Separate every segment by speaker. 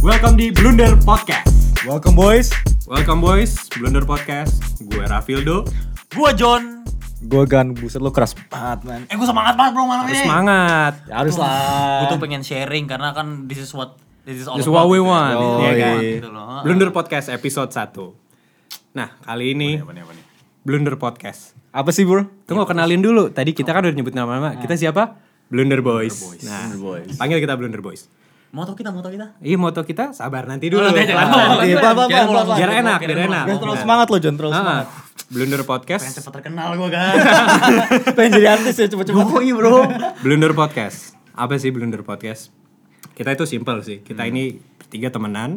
Speaker 1: welcome di Blunder Podcast.
Speaker 2: Welcome boys,
Speaker 1: Welcome boys, Blunder Podcast. Gue Rafildo.
Speaker 3: Gue John.
Speaker 2: gue gan buset lo keras banget man.
Speaker 3: Eh gue semangat banget bro malam ini.
Speaker 1: Semangat.
Speaker 2: Ya, harus lah.
Speaker 3: Gue tuh pengen sharing karena kan this is what this is all
Speaker 1: This is what
Speaker 3: about,
Speaker 1: we
Speaker 3: gitu.
Speaker 1: want.
Speaker 2: Oh,
Speaker 1: ya kan?
Speaker 2: iya.
Speaker 3: Gitu loh.
Speaker 1: Blunder Podcast episode 1. Nah, kali ini
Speaker 3: Apa nih, Iya, apa nih?
Speaker 1: Blunder Podcast.
Speaker 2: Apa sih bro?
Speaker 1: Tunggu kenalin dulu. Tadi kita kan udah nyebut nama-nama.
Speaker 3: Iya.
Speaker 1: Kita siapa? Blunder Boys. Nah, panggil kita Blunder Boys.
Speaker 3: Mau tau kita, mau tau kita.
Speaker 1: Iya, moto kita sabar nanti dulu.
Speaker 3: Oh, nanti aja, nanti aja.
Speaker 2: Iya, pelan pelan pelan
Speaker 3: Kirain mau
Speaker 2: pelan.
Speaker 3: langsung.
Speaker 1: Biar enak, biar
Speaker 3: Kirain mau
Speaker 1: enak. Iya.
Speaker 2: Jangan terlalu
Speaker 3: Nah.
Speaker 2: semangat lo John, terlalu semangat.
Speaker 1: Ah, Blunder
Speaker 3: Pengen
Speaker 1: Podcast.
Speaker 3: cepet terkenal gue kan.
Speaker 2: Pengen jadi artis ya coba-coba.
Speaker 3: Yoi
Speaker 1: iya.
Speaker 3: bro.
Speaker 1: Blunder Podcast. Apa sih Blunder Podcast? Kita itu simple sih. Kita ini bertiga temenan.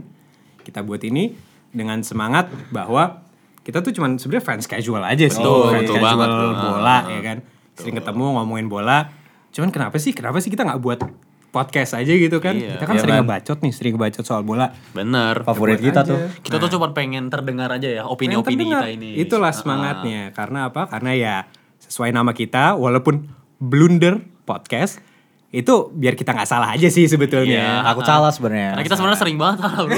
Speaker 1: Kita buat ini dengan semangat bahwa kita tuh cuman sebenarnya fans casual aja sih.
Speaker 3: Betul,
Speaker 1: fans
Speaker 3: betul
Speaker 1: casual
Speaker 3: banget, Ah, bro.
Speaker 1: bola ya kan. Sering ketemu ngomongin bola. Cuman kenapa sih? Kenapa sih kita nggak buat podcast aja gitu kan?
Speaker 3: Iya.
Speaker 1: Kita kan
Speaker 2: Iya,
Speaker 1: sering
Speaker 2: Man.
Speaker 1: ngebacot nih, sering ngebacot soal bola.
Speaker 3: Bener.
Speaker 2: Favorit kita tuh.
Speaker 3: Kita tuh cuma pengen terdengar aja ya
Speaker 1: Yang
Speaker 3: opini-opini
Speaker 1: terdengar.
Speaker 3: kita ini.
Speaker 1: Itulah semangatnya. Karena apa? Karena ya sesuai nama kita, walaupun blunder podcast itu biar kita nggak salah aja sih sebetulnya.
Speaker 3: Iya.
Speaker 2: Aku salah
Speaker 3: Karena
Speaker 2: sebenarnya.
Speaker 3: kita sebenarnya sering banget salah bro.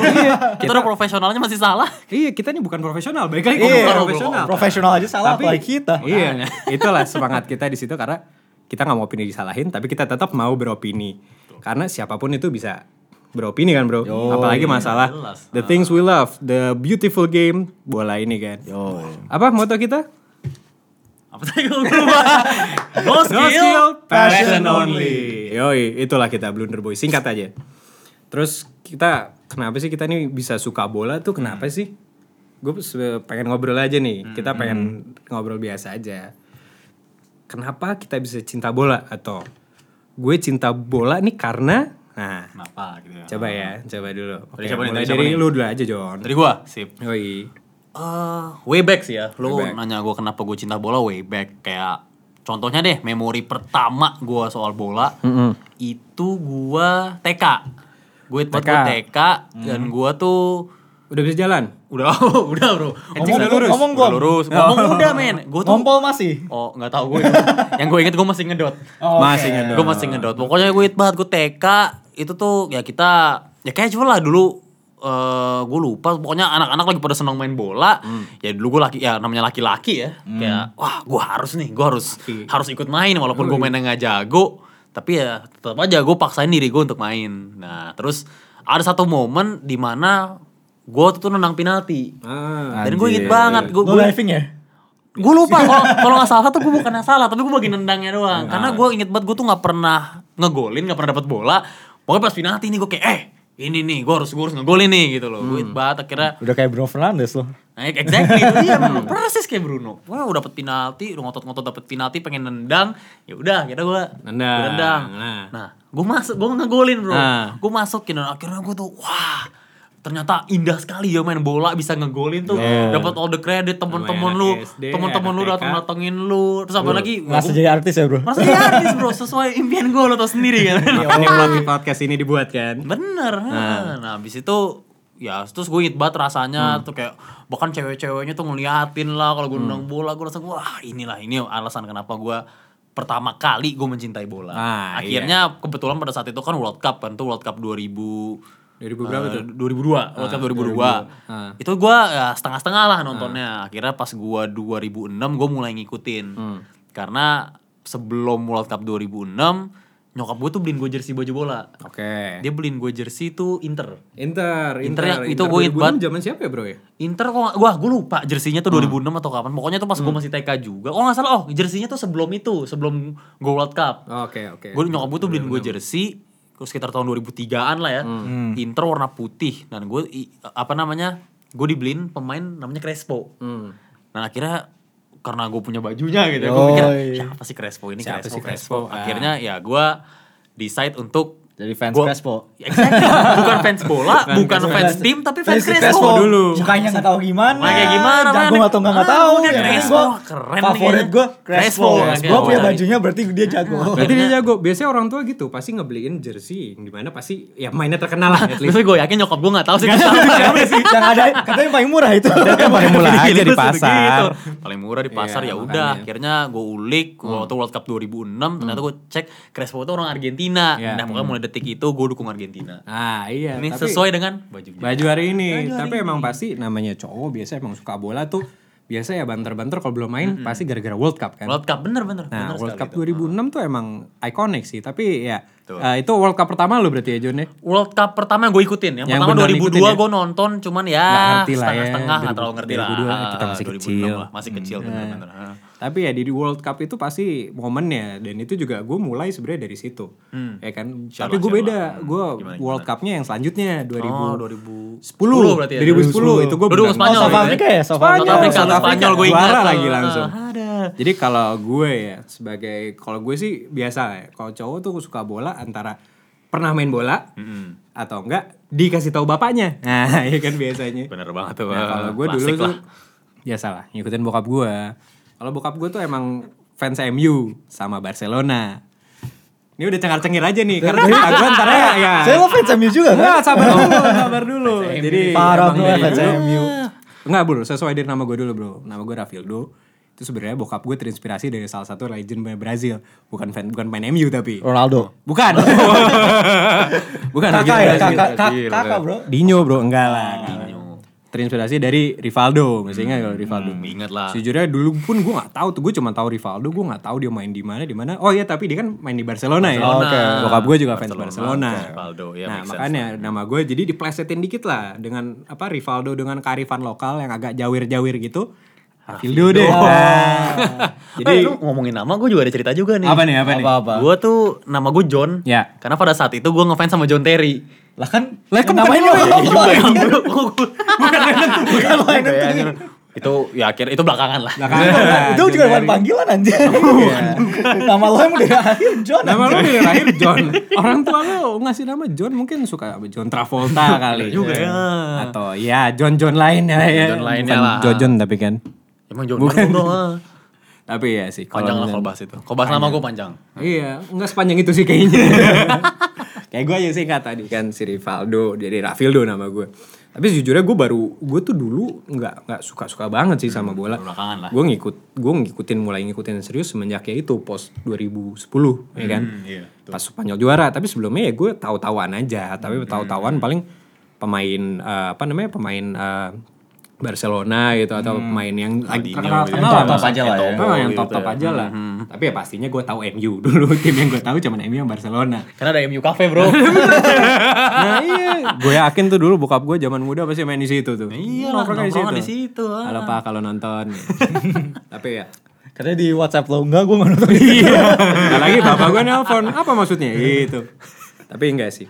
Speaker 3: kita udah profesionalnya masih salah.
Speaker 1: Iya kita ini bukan profesional, baik lagi
Speaker 2: Iya,
Speaker 1: bukan
Speaker 3: bro.
Speaker 1: profesional.
Speaker 2: Profesional aja salah apalagi kita.
Speaker 1: Iya, itulah semangat kita di situ karena kita nggak mau opini disalahin, tapi kita tetap mau beropini. Karena siapapun itu bisa beropini kan bro, apalagi masalah
Speaker 3: jelas.
Speaker 1: the things we love, the beautiful game bola ini kan.
Speaker 2: Yo.
Speaker 1: Apa moto kita?
Speaker 3: Apa tadi gue lupa? No
Speaker 1: No skill,
Speaker 3: skill.
Speaker 1: passion only. Yoi, itulah kita Blunder Boy. Singkat aja. Terus kita kenapa sih kita nih bisa suka bola tuh kenapa sih? Gue pengen ngobrol aja nih. Kita pengen ngobrol biasa aja. Kenapa kita bisa cinta bola atau gue cinta bola nih karena nah
Speaker 3: Kenapa gitu ya?
Speaker 1: coba ya coba dulu
Speaker 3: Dari siapa nih?
Speaker 1: mulai
Speaker 3: Dari siapa
Speaker 1: dari
Speaker 3: nih?
Speaker 1: lu dulu aja John
Speaker 3: Dari gua? Sip.
Speaker 1: yoi
Speaker 3: eh way back sih ya. Lo
Speaker 1: Way back.
Speaker 3: nanya gue kenapa gue cinta bola way back kayak contohnya deh memori pertama gue soal bola itu gue TK. Gue TK,
Speaker 1: TK.
Speaker 3: TK dan gue tuh
Speaker 1: udah bisa jalan
Speaker 3: udah udah bro.
Speaker 2: Ngomong udah lurus. Ngomong gua.
Speaker 3: Udah lurus. Ngomong udah men. Gue tuh
Speaker 2: Ngompol masih.
Speaker 3: Oh nggak tahu gue. Yang gue inget gue masih ngedot.
Speaker 2: Oh,
Speaker 1: masih ingat
Speaker 3: Gue Iya. masih ngedot. Pokoknya gue inget banget gue TK itu tuh ya kita ya casual lah dulu eh gue lupa pokoknya anak-anak lagi pada seneng main bola ya dulu gue laki ya namanya laki-laki ya kayak wah gue harus nih gue harus harus ikut main walaupun gue mainnya nggak jago tapi ya tetap aja gue paksain diri gue untuk main nah terus ada satu momen di mana gue tuh tuh nendang penalti
Speaker 1: ah,
Speaker 3: dan gue inget
Speaker 2: Anjir.
Speaker 3: banget gue
Speaker 2: Lo diving ya?
Speaker 3: gue lupa kalau kalau nggak salah tuh gue bukan yang salah tapi gue bagian nendangnya doang karena gue inget banget gue tuh nggak pernah ngegolin nggak pernah dapat bola pokoknya pas penalti ini gue kayak eh ini nih gue harus gue harus ngegolin nih gitu loh gue inget banget akhirnya
Speaker 2: Udah kayak Bruno Fernandes lo.
Speaker 3: nah exactly itu dia memang persis kayak Bruno wah udah dapet penalti udah ngotot-ngotot dapet penalti pengen nendang ya udah akhirnya gue
Speaker 1: Nendang,
Speaker 3: nendang
Speaker 1: nah.
Speaker 3: nah, gue masuk gue ngegolin bro
Speaker 1: Nah.
Speaker 3: gue masukin dan akhirnya gue tuh wah ternyata indah sekali ya main bola bisa ngegolin tuh dapat all the credit
Speaker 1: Anak
Speaker 3: temen-temen lu
Speaker 1: SD,
Speaker 3: temen-temen lu
Speaker 1: anak
Speaker 3: datang
Speaker 1: TK.
Speaker 3: datengin lu terus apa lagi wah,
Speaker 2: Masih
Speaker 3: gua-
Speaker 2: jadi artis ya bro.
Speaker 3: masa jadi artis bro sesuai impian gue lo tau sendiri kan
Speaker 1: makanya melalui podcast ini dibuat kan
Speaker 3: Bener. Nah, nah abis itu ya terus gue inget banget
Speaker 1: Hmm.
Speaker 3: rasanya tuh kayak bahkan cewek-ceweknya tuh ngeliatin lah kalau gue nendang bola gue rasa wah inilah ini alasan kenapa gue pertama kali gue mencintai bola.
Speaker 1: Ah,
Speaker 3: Akhirnya kebetulan pada saat itu kan World Cup kan tuh World Cup eh, 2000
Speaker 1: 2000 berapa tuh? Ah,
Speaker 3: 2002, World Cup 2002. Itu gua ya, setengah-setengah lah
Speaker 1: Ah.
Speaker 3: nontonnya. Akhirnya pas gua 2006 gua mulai ngikutin.
Speaker 1: Hmm.
Speaker 3: Karena sebelum World Cup 2006 nyokap gua tuh beliin gua jersey baju bola.
Speaker 1: Oke.
Speaker 3: Dia beliin gua jersey tuh Inter.
Speaker 1: Inter, Inter,
Speaker 3: Inter yang itu gue ingat
Speaker 1: 2006
Speaker 3: banget.
Speaker 1: zaman siapa ya bro ya?
Speaker 3: Inter kok nggak- wah gue lupa
Speaker 1: Hmm.
Speaker 3: jersinya tuh 2006 atau kapan. Pokoknya tuh pas gua masih TK juga. Oh nggak salah, oh jersinya tuh sebelum itu, sebelum gua World Cup.
Speaker 1: Oke Oh, oke.
Speaker 3: Gue nyokap gue tuh beliin gue jersey ke sekitar tahun 2003-an lah ya.
Speaker 1: Hmm.
Speaker 3: Inter warna putih dan gue i- apa namanya? Gue dibeliin pemain namanya Crespo.
Speaker 1: Hmm.
Speaker 3: Dan akhirnya karena gue punya bajunya gitu, gue mikir
Speaker 2: Yoi.
Speaker 3: siapa sih Crespo ini?
Speaker 1: Siapa
Speaker 3: Crespo,
Speaker 1: sih
Speaker 3: Crespo.
Speaker 1: Crespo? Ah.
Speaker 3: Akhirnya ya gue decide untuk
Speaker 2: Jadi fans
Speaker 3: gua-
Speaker 2: Crespo.
Speaker 3: Exactly. bukan fans bola,
Speaker 1: Bukan
Speaker 3: bukan
Speaker 1: fans-
Speaker 3: fans tim, tapi fans, Crespo.
Speaker 2: dulu. Mukanya nggak tahu gimana.
Speaker 3: Nah, kayak gimana,
Speaker 2: Jago
Speaker 3: Man?
Speaker 2: nggak tahu nggak nggak
Speaker 3: Ah,
Speaker 2: tahu.
Speaker 3: udah
Speaker 2: ya kan?
Speaker 3: Crespo.
Speaker 2: Gua-
Speaker 3: Keren nih
Speaker 2: Favorit
Speaker 3: kayaknya.
Speaker 2: gue Crespo.
Speaker 3: Crespo.
Speaker 2: Gue
Speaker 3: Crespo.
Speaker 2: punya bajunya berarti dia jago.
Speaker 1: Berarti dia jago. Biasanya orang tua gitu pasti ngebeliin jersey yang dimana pasti ya mainnya terkenal lah. at least.
Speaker 3: Tapi gue yakin nyokap gue gak tahu sih.
Speaker 2: Siapa sih? Yang ada katanya paling murah itu.
Speaker 1: Yang paling murah
Speaker 3: Gitu,
Speaker 1: aja di
Speaker 3: terus
Speaker 1: pasar.
Speaker 3: begitu. Paling murah di pasar
Speaker 1: Iya,
Speaker 3: ya udah.
Speaker 1: makanya. Hmm.
Speaker 3: Akhirnya gue ulik waktu World Cup 2006 ternyata gue cek Crespo itu orang Argentina.
Speaker 1: Iya.
Speaker 3: Nah, pokoknya mulai detik itu gue dukung Argentina.
Speaker 1: Ah iya.
Speaker 3: ini
Speaker 1: tapi
Speaker 3: sesuai dengan bajunya.
Speaker 1: baju hari ini. tapi emang pasti namanya cowok biasa emang suka bola tuh biasa ya banter-banter kalau belum main pasti gara-gara World Cup kan.
Speaker 3: World Cup bener-bener.
Speaker 1: Nah,
Speaker 3: bener
Speaker 1: World
Speaker 3: sekali
Speaker 1: Cup
Speaker 3: itu.
Speaker 1: 2006 tuh emang ikonik sih, tapi ya eh, itu World Cup pertama lo berarti ya John ya?
Speaker 3: World Cup pertama yang gue ikutin. Yang,
Speaker 1: Yang
Speaker 3: pertama
Speaker 1: benar
Speaker 3: 2002
Speaker 1: ngikutin ya?
Speaker 3: gue nonton cuman ya
Speaker 1: Nggak ngerti lah ya,
Speaker 3: setengah-setengah nggak
Speaker 1: 2000,
Speaker 3: terlalu ngerti lah.
Speaker 1: 2002, kita
Speaker 3: Ah,
Speaker 1: masih
Speaker 3: 2006
Speaker 1: kecil. Hmm. Iya.
Speaker 3: lah, masih kecil bener-bener. Ah.
Speaker 1: Tapi ya di di World Cup itu pasti momennya dan itu juga gue mulai sebenarnya dari situ, ya kan.
Speaker 3: Hmm. Insya
Speaker 1: tapi gue
Speaker 3: Allah, insya
Speaker 1: beda,
Speaker 3: Allah. Hmm,
Speaker 1: gue
Speaker 3: Gimana, gimana?
Speaker 1: World Cupnya yang selanjutnya 2000.
Speaker 3: Oh, 2010
Speaker 1: 10
Speaker 3: berarti ya.
Speaker 1: 2010, itu gue
Speaker 3: Dulu
Speaker 1: benar.
Speaker 3: Spanyol.
Speaker 2: Oh, South
Speaker 3: gitu ya.
Speaker 2: Africa ya, South Africa.
Speaker 3: South Africa,
Speaker 1: South Africa.
Speaker 3: Spanyol gue ingat.
Speaker 1: Juara lagi langsung.
Speaker 3: Ah, Ada.
Speaker 1: Jadi kalau gue ya sebagai kalau gue sih biasa ya. Kalau cowok tuh suka bola antara pernah main bola
Speaker 3: Hmm.
Speaker 1: atau enggak dikasih tahu bapaknya. Nah, ya
Speaker 3: iya
Speaker 1: kan biasanya.
Speaker 3: Bener banget tuh.
Speaker 1: Nah, kalau gue dulu
Speaker 3: Klasik
Speaker 1: tuh
Speaker 3: lah.
Speaker 1: biasa lah ngikutin bokap gue. Kalau bokap gue tuh emang fans MU sama Barcelona. Ini udah cengar-cengir aja nih karena cerita gue ntar ya. ya.
Speaker 2: Nah. Saya lo fans MU juga kan?
Speaker 1: Enggak, sabar dulu, sabar dulu. Jadi
Speaker 2: Parah
Speaker 1: emang
Speaker 2: gue
Speaker 1: dari
Speaker 2: fans
Speaker 1: dulu-
Speaker 2: MU.
Speaker 1: Enggak bro, sesuai dari nama gue dulu bro. Nama gue Rafildo. Itu sebenarnya bokap gue terinspirasi dari salah satu legend Brazil. Bukan fan, bukan main MU tapi.
Speaker 2: Ronaldo.
Speaker 1: Bukan. bukan
Speaker 2: Kakak
Speaker 1: legend
Speaker 2: ya,
Speaker 1: Brazil.
Speaker 2: kakak, kakak, kakak bro.
Speaker 1: Dino bro, enggak lah. enggak lah. Terinspirasi dari Rivaldo, masih ingat kalau Rivaldo.
Speaker 3: Hmm, Ingat lah.
Speaker 1: Sejujurnya dulu pun gue nggak tahu tuh, gue cuma tahu Rivaldo, gue nggak tahu dia main di mana, di mana. Oh iya, tapi dia kan main di Barcelona,
Speaker 3: Barcelona.
Speaker 1: ya. Bokap gue juga fans
Speaker 3: Barcelona,
Speaker 1: Barcelona.
Speaker 3: oke. Rivaldo, ya,
Speaker 1: nah
Speaker 3: make sense.
Speaker 1: makanya nama gue jadi diplesetin dikit lah dengan apa Rivaldo dengan kearifan lokal yang agak jawir-jawir gitu.
Speaker 3: Ah,
Speaker 1: Hafildo deh.
Speaker 3: Jadi
Speaker 1: jadi
Speaker 3: ngomongin nama gue juga ada cerita juga ya? nih.
Speaker 1: apa nih apa nih?
Speaker 2: Apa-apa.
Speaker 3: Gue tuh nama gue John.
Speaker 1: Ya.
Speaker 3: Karena pada saat itu gue ngefans sama John Terry.
Speaker 2: Lah kan, Iya.
Speaker 1: Lah, kan
Speaker 2: namain
Speaker 1: bukan
Speaker 2: lo.
Speaker 3: Oh,
Speaker 1: lo yang
Speaker 2: Bukan
Speaker 3: iya.
Speaker 2: lo yang
Speaker 3: Kayak
Speaker 2: nentuin.
Speaker 3: anjir. itu ya akhir itu belakangan lah.
Speaker 1: Nah, kan,
Speaker 2: Itu juga bukan panggilan anjir. Nama lo emang dari akhir John.
Speaker 1: Nama
Speaker 2: anjir.
Speaker 1: lu dari lahir John. Orang tua lu ngasih nama John mungkin suka John Travolta kali.
Speaker 3: juga ya.
Speaker 1: Atau ya John John lain ya. ya.
Speaker 3: John lainnya
Speaker 1: Bukan
Speaker 3: lah.
Speaker 1: John John tapi kan.
Speaker 3: Emang John Bukan. dong.
Speaker 1: Tapi ya sih. kalau
Speaker 3: Panjang lah
Speaker 1: misalnya-
Speaker 3: kalau bahas itu. Kalau bahas nama gue panjang.
Speaker 1: Iya, enggak sepanjang itu sih kayaknya. Kayak gue aja singkat tadi kan si Rivaldo, jadi Rafildo nama gue. Tapi sejujurnya gue baru, gue tuh dulu nggak nggak suka-suka banget sih sama bola.
Speaker 3: Hmm, belakangan lah.
Speaker 1: Gue ngikut, gue ngikutin mulai ngikutin serius semenjak ya itu pos 2010, ya kan.
Speaker 3: iya,
Speaker 1: Pas Spanyol juara, tapi sebelumnya ya gue tahu-tahuan aja.
Speaker 3: Hmm,
Speaker 1: Tapi
Speaker 3: iya,
Speaker 1: tahu-tahuan paling pemain eh, apa namanya pemain eh, Barcelona gitu atau
Speaker 3: Hmm.
Speaker 1: pemain yang lagi
Speaker 3: gitu
Speaker 1: terkenal-terkenal
Speaker 2: Yang
Speaker 1: lah.
Speaker 2: top-top aja lah ya.
Speaker 1: Ah, yang top top aja lah. Tapi ya pastinya gue tahu MU dulu tim yang gue tahu cuman MU yang Barcelona.
Speaker 3: Karena ada MU Cafe bro.
Speaker 1: nah iya, gue yakin tuh dulu bokap gue zaman muda pasti main di situ tuh.
Speaker 3: Iya lah,
Speaker 1: Nongkrongnya
Speaker 3: nongkrongan di situ, ah.
Speaker 1: Halo pak kalau nonton. Tapi ya.
Speaker 2: Katanya di WhatsApp lo enggak, gue nggak nonton.
Speaker 1: Iya. Nah, lagi bapak gue nelpon apa maksudnya gitu. Tapi enggak sih.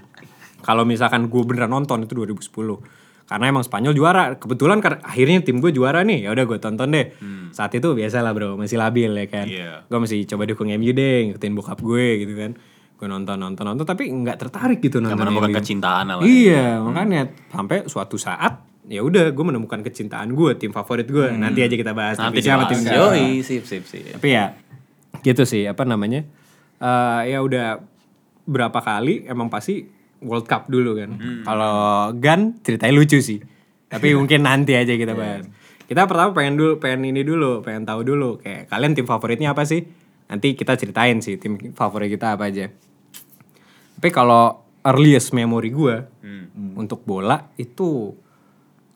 Speaker 1: Kalau misalkan gue beneran nonton itu 2010 karena emang Spanyol juara kebetulan kar- akhirnya tim gue juara nih ya udah gue tonton deh saat itu biasa lah bro masih labil ya kan
Speaker 3: Iya.
Speaker 1: gue masih coba dukung MU deh ngikutin bokap gue gitu kan gue nonton nonton nonton tapi nggak tertarik gitu nonton
Speaker 3: menemukan
Speaker 1: MU.
Speaker 3: kecintaan lah.
Speaker 1: Iya, makanya sampai suatu saat ya udah gue menemukan kecintaan gue tim favorit gue nanti aja kita bahas
Speaker 3: Nanti
Speaker 1: tim siapa tim
Speaker 3: dibahas.
Speaker 1: siapa.
Speaker 3: Yoi, sip, sip, sip.
Speaker 1: tapi ya gitu sih apa namanya Eh, ya udah berapa kali emang pasti World Cup dulu kan
Speaker 2: Hmm.
Speaker 1: kalau Gan ceritanya lucu sih tapi mungkin nanti aja
Speaker 2: Iya.
Speaker 1: kita bahas kita pertama pengen dulu pengen ini dulu pengen tahu dulu kayak kalian tim favoritnya apa sih nanti kita ceritain sih tim favorit kita apa aja tapi kalau earliest memory gue
Speaker 2: Hmm.
Speaker 1: untuk bola itu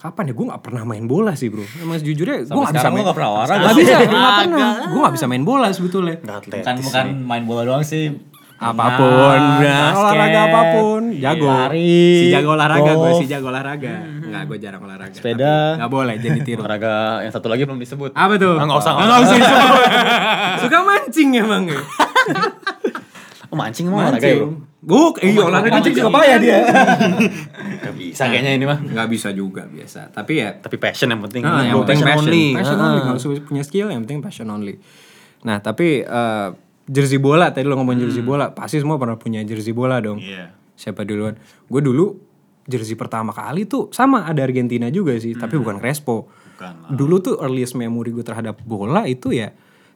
Speaker 1: kapan ya gue nggak pernah main bola sih bro emang sejujurnya gue nggak bisa
Speaker 2: sekarang lo
Speaker 1: main
Speaker 2: nggak pernah olahraga.
Speaker 1: nggak bisa nggak pernah gue nggak bisa main bola sebetulnya
Speaker 3: Nggak atlet.
Speaker 2: Bukan bukan main bola doang sih.
Speaker 1: apapun nah,
Speaker 2: Renang, basket,
Speaker 1: olahraga apapun jago
Speaker 2: lari,
Speaker 1: si jago olahraga gue
Speaker 2: golf.
Speaker 1: si jago olahraga nggak gue jarang olahraga
Speaker 2: Sepeda.
Speaker 1: Tapi nggak boleh jadi tiru
Speaker 3: Olahraga yang satu lagi belum disebut.
Speaker 1: apa tuh
Speaker 3: Ah, nggak usah,
Speaker 1: Ah,
Speaker 3: nggak
Speaker 1: nggak usah disebut. suka mancing emang ya
Speaker 3: Oh, mancing emang olahraga ya bro?
Speaker 1: buk iya olahraga
Speaker 2: Mancing juga payah dia.
Speaker 3: Gak bisa kayaknya ya. ini mah.
Speaker 1: nggak bisa juga biasa tapi ya
Speaker 3: Tapi passion yang penting.
Speaker 1: Ah, yang
Speaker 3: Bro,
Speaker 1: penting passion,
Speaker 3: only.
Speaker 1: Passion
Speaker 3: Ah.
Speaker 1: only. Kalau sudah punya skill yang penting passion only. Nah, tapi eh, jersey bola tadi lo ngomong jersey bola, pasti semua pernah punya jersey bola dong.
Speaker 3: Hmm. Iya.
Speaker 1: Siapa duluan? Gue dulu jersey pertama kali tuh sama ada Argentina juga sih, tapi bukan Crespo.
Speaker 3: Hmm. Bukan lah.
Speaker 1: Dulu tuh earliest memory gue terhadap bola itu ya